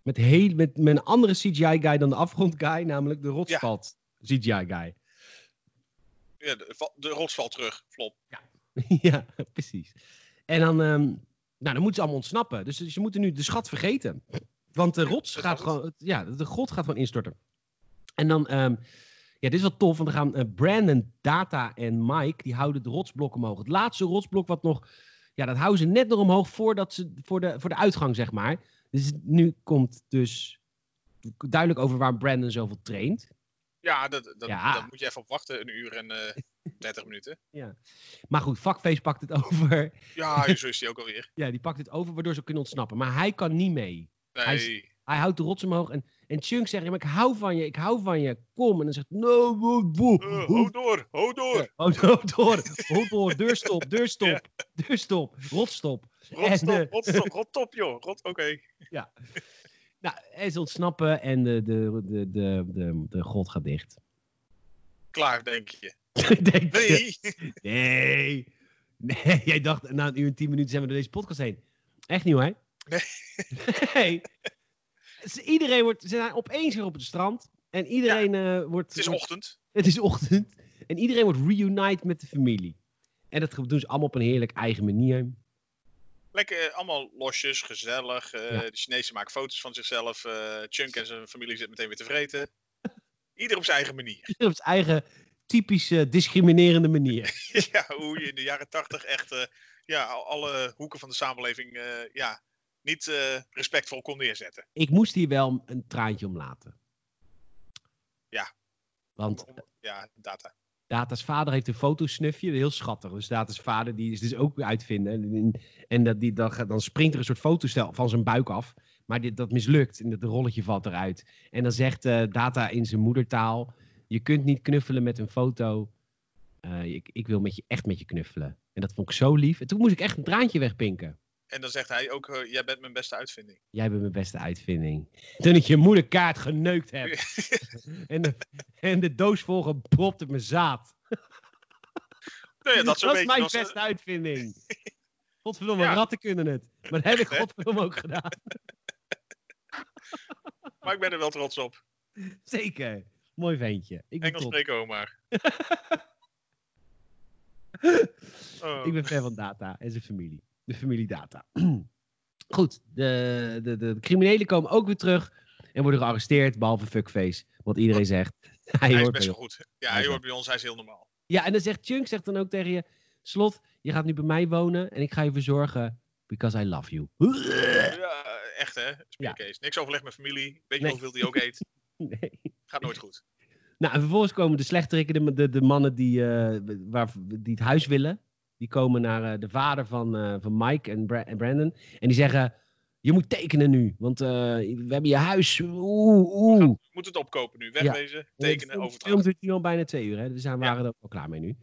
Met, heel, met, met een andere CGI-guy dan de afgrond-guy, namelijk de rotsvalt CGI-guy.
ja de, va- de rots valt terug. Flop.
ja, precies. En dan, ehm, nou, dan moeten ze allemaal ontsnappen. Dus ze ze moeten nu de schat vergeten. Want de rots
dat
gaat
was het.
gewoon, ja, de god gaat gewoon instorten. En dan, ehm, ja, dit is wel tof, want dan gaan eh, Brandon, Data en Mike, die houden de rotsblok omhoog. Het laatste rotsblok wat nog, ja, dat houden ze net nog omhoog voordat ze, voor, de, voor de uitgang, zeg maar. Dus nu komt dus duidelijk over waar Brandon zoveel traint.
Ja, dat, dat,
Ja.
dat moet je even op wachten. Een uur en eh 30 minuten.
Maar goed, Fuckface pakt het over.
Ja, zo is die ook alweer.
Ja, die pakt het over, waardoor ze kunnen ontsnappen. Maar hij kan niet mee. Hij is-
Nee,
Hij houdt de rots omhoog en, en Chunk zegt, "Ja, maar ik hou van je, ik hou van je, kom. En dan zegt, "Nou, no, wo, wo,
Eh,
wo."
hou door, hou door.
Houd Oh, houd door, houd door, deur stop, deur
Ja.
stop, deur stop, rot stop. En, eh,
Rotstop, rotstop, rotstop joh. Rot, oké.
Nou, en ze ontsnappen en de, de, de, de, de, de god gaat dicht.
Klaar, denk je.
Denk je?
Nee.
nee, nee, jij dacht, na een uur en tien minuten zijn we door deze podcast heen. Echt niet hoor.
Nee.
nee. Ze- Iedereen wordt, ze zijn opeens weer op het strand. En iedereen eh, wordt...
Het is
wordt-
ochtend.
Het is ochtend. En iedereen wordt reunite met de familie. En dat doen ze allemaal op een heerlijk eigen manier.
Lekker eh, allemaal losjes, gezellig. eh,
Ja.
De Chinezen maken foto's van zichzelf. eh, Chunk en zijn familie zit meteen weer te vreten. Ieder op zijn eigen manier.
Op zijn eigen typische discriminerende manier.
ja, hoe je in de jaren tachtig echt eh, ja, al- alle hoeken van de samenleving eh, ja, niet eh, respectvol kon neerzetten.
Ik moest hier wel een traantje om laten.
Ja.
Want
Ja, data.
Data's vader heeft een fotosnufje, heel schattig. Dus Data's vader die is dus ook weer uitvinden. En, en dat die, dan, gaat- dan springt er een soort fotostel van zijn buik af. Maar dit, dat mislukt en dat rolletje valt eruit. En dan zegt eh, Data in zijn moedertaal: Je kunt niet knuffelen met een foto. Eh, ik, ik wil met je, echt met je knuffelen. En dat vond ik zo lief. En toen moest ik echt een traantje wegpinken.
En dan zegt hij ook, eh, jij bent mijn beste uitvinding.
Jij bent mijn beste uitvinding. Toen ik je moederkaart geneukt heb. en, de, en de doos vol gepropt op mijn zaad.
Nou ja, dat
dat,
is een
is
beetje...
mijn
dat is, eh,
beste uitvinding. Godverdomme,
Ja.
ratten kunnen het. Maar dat heb ik
Echt, hè?
godverdomme ook gedaan.
maar ik ben er wel trots op.
Zeker. Mooi ventje. Ik ben,
Engels
trots.
spreken ook maar. Oh.
ik ben fan van Data en zijn familie. De familie Data. Goed, de, de, de criminelen komen ook weer terug en worden gearresteerd, behalve Fuckface. Want iedereen zegt, hij,
Hij is
hoort
best
bij
wel
ons.
goed. Ja,
Hij
hij
is
hoort bij ons, hij is heel normaal.
Ja, en dan zegt Chunk zegt dan ook tegen je, Slot, je gaat nu bij mij wonen en ik ga je verzorgen, because I love you.
Ja, echt hè, speerkees. Niks overleg met familie, weet je
Eh. Nee.
hoeveel die ook eet.
Nee.
Gaat nooit goed.
Nou, en vervolgens komen de slechterikken, de, de, de mannen die, eh, waar, die het huis willen. Die komen naar eh, de vader van, eh, van Mike en, Bra- en Brandon. En die zeggen, je moet tekenen nu. Want eh, we hebben je huis. Oeh, oeh.
Je moet het opkopen nu, wegwezen, tekenen,
Het film
overdrachten.
duurt nu al bijna twee uur. Hè? We zijn,
Ja.
waren er ook al klaar mee nu.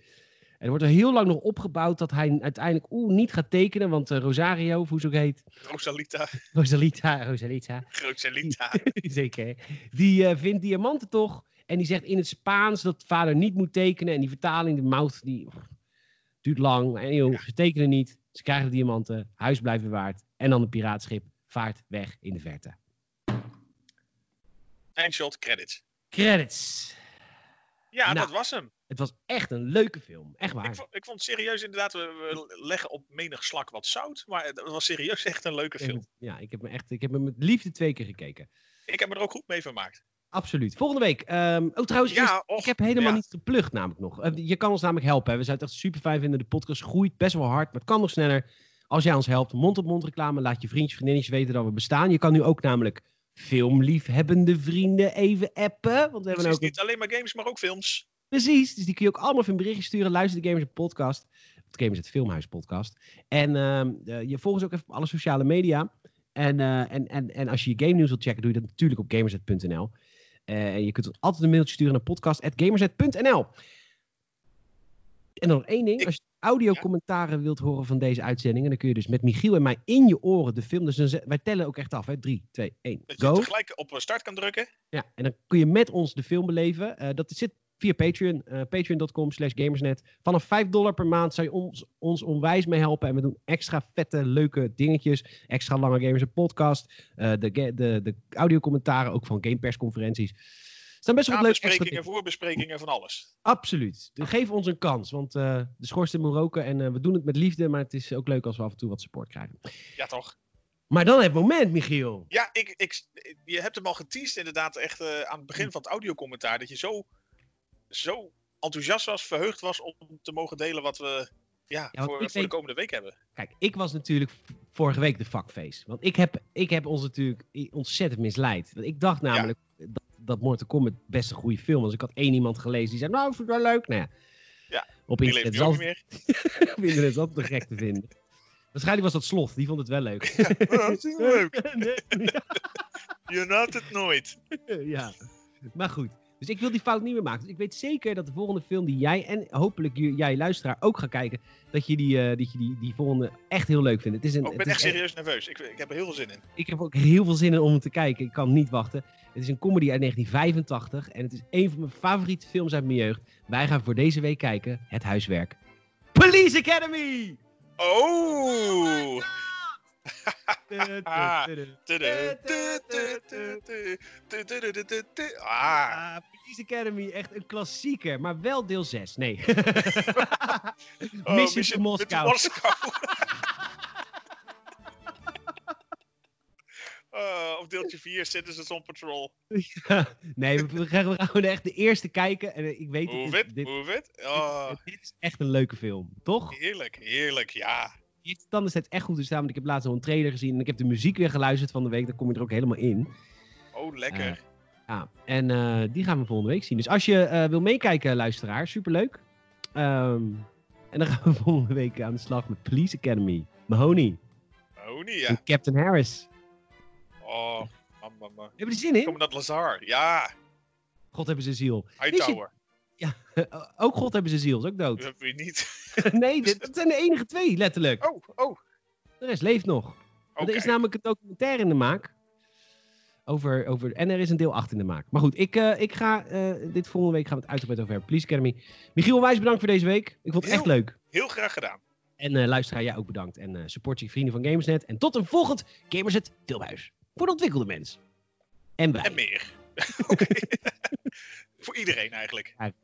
En er wordt er heel lang nog opgebouwd dat hij uiteindelijk oeh, niet gaat tekenen. Want eh, Rosario, of hoe ze ook heet.
Rosalita,
Rosalita, Rosalita.
Rosalita.
Zeker. Die eh, vindt diamanten toch. En die zegt in het Spaans dat vader niet moet tekenen. En die vertaling, de mouth, die pff, duurt lang. En joh, ze tekenen niet. Ze krijgen de diamanten. Huis blijft bewaard. En dan een piraatschip vaart weg in de verte.
Eindshot, credits.
Credits.
Ja,
Nou.
dat was hem.
Het was echt een leuke film. Echt
Ik
waar.
vond, ik vond serieus inderdaad, we, we leggen op menig slak wat zout. Maar het was serieus echt een leuke film.
Ja, ik heb me echt ik heb me met liefde twee keer gekeken.
Ik heb me er ook goed mee vermaakt.
Absoluut. Volgende week. ehm, oh, trouwens, eerst-
Ja,
ik
och,
heb helemaal
ja.
niet geplucht namelijk nog. Eh, Je kan ons namelijk helpen. hè. We zijn het echt super fijn vinden. De podcast groeit best wel hard, maar het kan nog sneller. Als jij ons helpt, mond-op-mond reclame. Laat je vriendjes, vriendinnetjes weten dat we bestaan. Je kan nu ook namelijk filmliefhebbende vrienden even appen. Want we hebben
Precies,
ook... een-
niet alleen maar games, maar ook films.
Precies, dus die kun je ook allemaal even een berichtje sturen. Luister de Gamers podcast. Het Gamers het Filmhuis podcast. En ehm, eh, je volgt ons ook even op alle sociale media. En, eh, en, en, en als je je game nieuws wilt checken, doe je dat natuurlijk op gamersnet.nl. Eh, en je kunt ons altijd een mailtje sturen naar podcast.gamersnet.nl. En dan nog één ding.
Ik-
Als je audiocommentaren wilt horen van deze uitzendingen, dan kun je dus met Michiel en mij in je oren de film. Dus dan zet- wij tellen ook echt af, hè? 3, 2, 1,
Dat je
go.
tegelijk op start kan drukken.
Ja, en dan kun je met ons de film beleven. Eh, dat zit via Patreon, eh, patreon.com slash gamersnet. Vanaf 5 dollar per maand zou je ons, ons onwijs mee helpen. En we doen extra vette, leuke dingetjes. Extra lange gamers en podcast. eh, de, ga- de, de audiocommentaren ook van gamepersconferenties. Er staan best wel wat leuke extra
Nabesprekingen,
dingen.
voorbesprekingen, van alles.
Absoluut. Dus geef ons een kans, want eh, de schorsten moet roken. En eh, we doen het met liefde, maar het is ook leuk als we af en toe wat support krijgen.
Ja, toch?
Maar dan het moment, Michiel.
Ja, ik, ik, je hebt hem al geteased inderdaad echt eh, aan het begin van het audiocommentaar. Dat je zo, zo enthousiast was, verheugd was om te mogen delen wat we ja,
want
voor,
ik
voor de
denk-
komende week hebben.
Kijk, ik was natuurlijk v- vorige week de fuckface. Want ik heb, ik heb ons natuurlijk i- ontzettend misleid. Want ik dacht namelijk dat, dat Mortal Kombat best een goede film was. Ik had één iemand gelezen die zei, nou, ik vind het wel leuk. Nou ja,
Ja,
op
Ik leef
internet, is
nu ook niet
altijd,
meer.
op internet is altijd nog gek te vinden. Waarschijnlijk was dat Slot, die vond het wel leuk.
Oh, dat is leuk.
Nee,
Je raadt het nooit.
ja, maar goed. Dus ik wil die fout niet meer maken. Dus ik weet zeker dat de volgende film die jij en hopelijk j- jij luisteraar ook gaat kijken, dat je die, eh, dat je die, die volgende echt heel leuk vindt. Het is een,
Oh, ik
het
ben
is
echt serieus nerveus. Ik, ik heb er heel veel zin in.
Ik heb ook heel veel zin in om hem te kijken. Ik kan niet wachten. Het is een comedy uit 1985 en het is een van mijn favoriete films uit mijn jeugd. Wij gaan voor deze week kijken het huiswerk. Police Academy!
Oh!
Ah,
Tudu, tudu, tudu, tudu, tudu, tudu, tudu, tudu. Ah,
Police Academy, echt een klassieker, maar wel deel 6. Nee.
oh,
Mission to
Moskou.
Moscow.
Eh, of deeltje 4, Citizens on Patrol.
nee, we gaan we gaan echt de eerste kijken. En eh, ik weet,
Move
dit,
it,
dit,
move it. Oh,
dit is echt een leuke film, toch?
heerlijk, heerlijk, ja.
Dit- Dan is het echt goed te staan, want ik heb laatst al een trailer gezien en ik heb de muziek weer geluisterd van de week. Dan kom je er ook helemaal in.
Oh, lekker.
Ja, en eh, die gaan we volgende week zien. Dus als je eh, wil meekijken, luisteraar, superleuk. Ehm, en dan gaan we volgende week aan de slag met Police Academy. Mahoney Ah.
oh, niet, ja.
en Captain Harris.
Oh, man, man, man.
Hebben ze er zin in?
Commandant Lazar, ja.
God hebben ze ziel.
Hightower.
Eh, ook God hebben ze ziel, is ook
Dat
dood.
hebben we niet.
nee, dit, dat zijn de enige twee, letterlijk.
Oh, oh, oké.
nou- De rest leeft nog. Want Er is namelijk een documentaire in de maak. Over, over, en er is een deel 8 in de maak. Maar goed, ik, eh, ik ga eh, dit volgende week gaan we het uitgebreid over hebben. Police Academy. Michiel, onwijs bedankt voor deze week. Ik vond het echt
Heel-
leuk.
Heel graag gedaan.
En eh, luisteraar, jij ook bedankt. En eh, support je vrienden van Gamersnet. En tot een volgend Gamersnet Tilbuis. Voor de ontwikkelde mens. En wij.
En meer. Voor iedereen eigenlijk.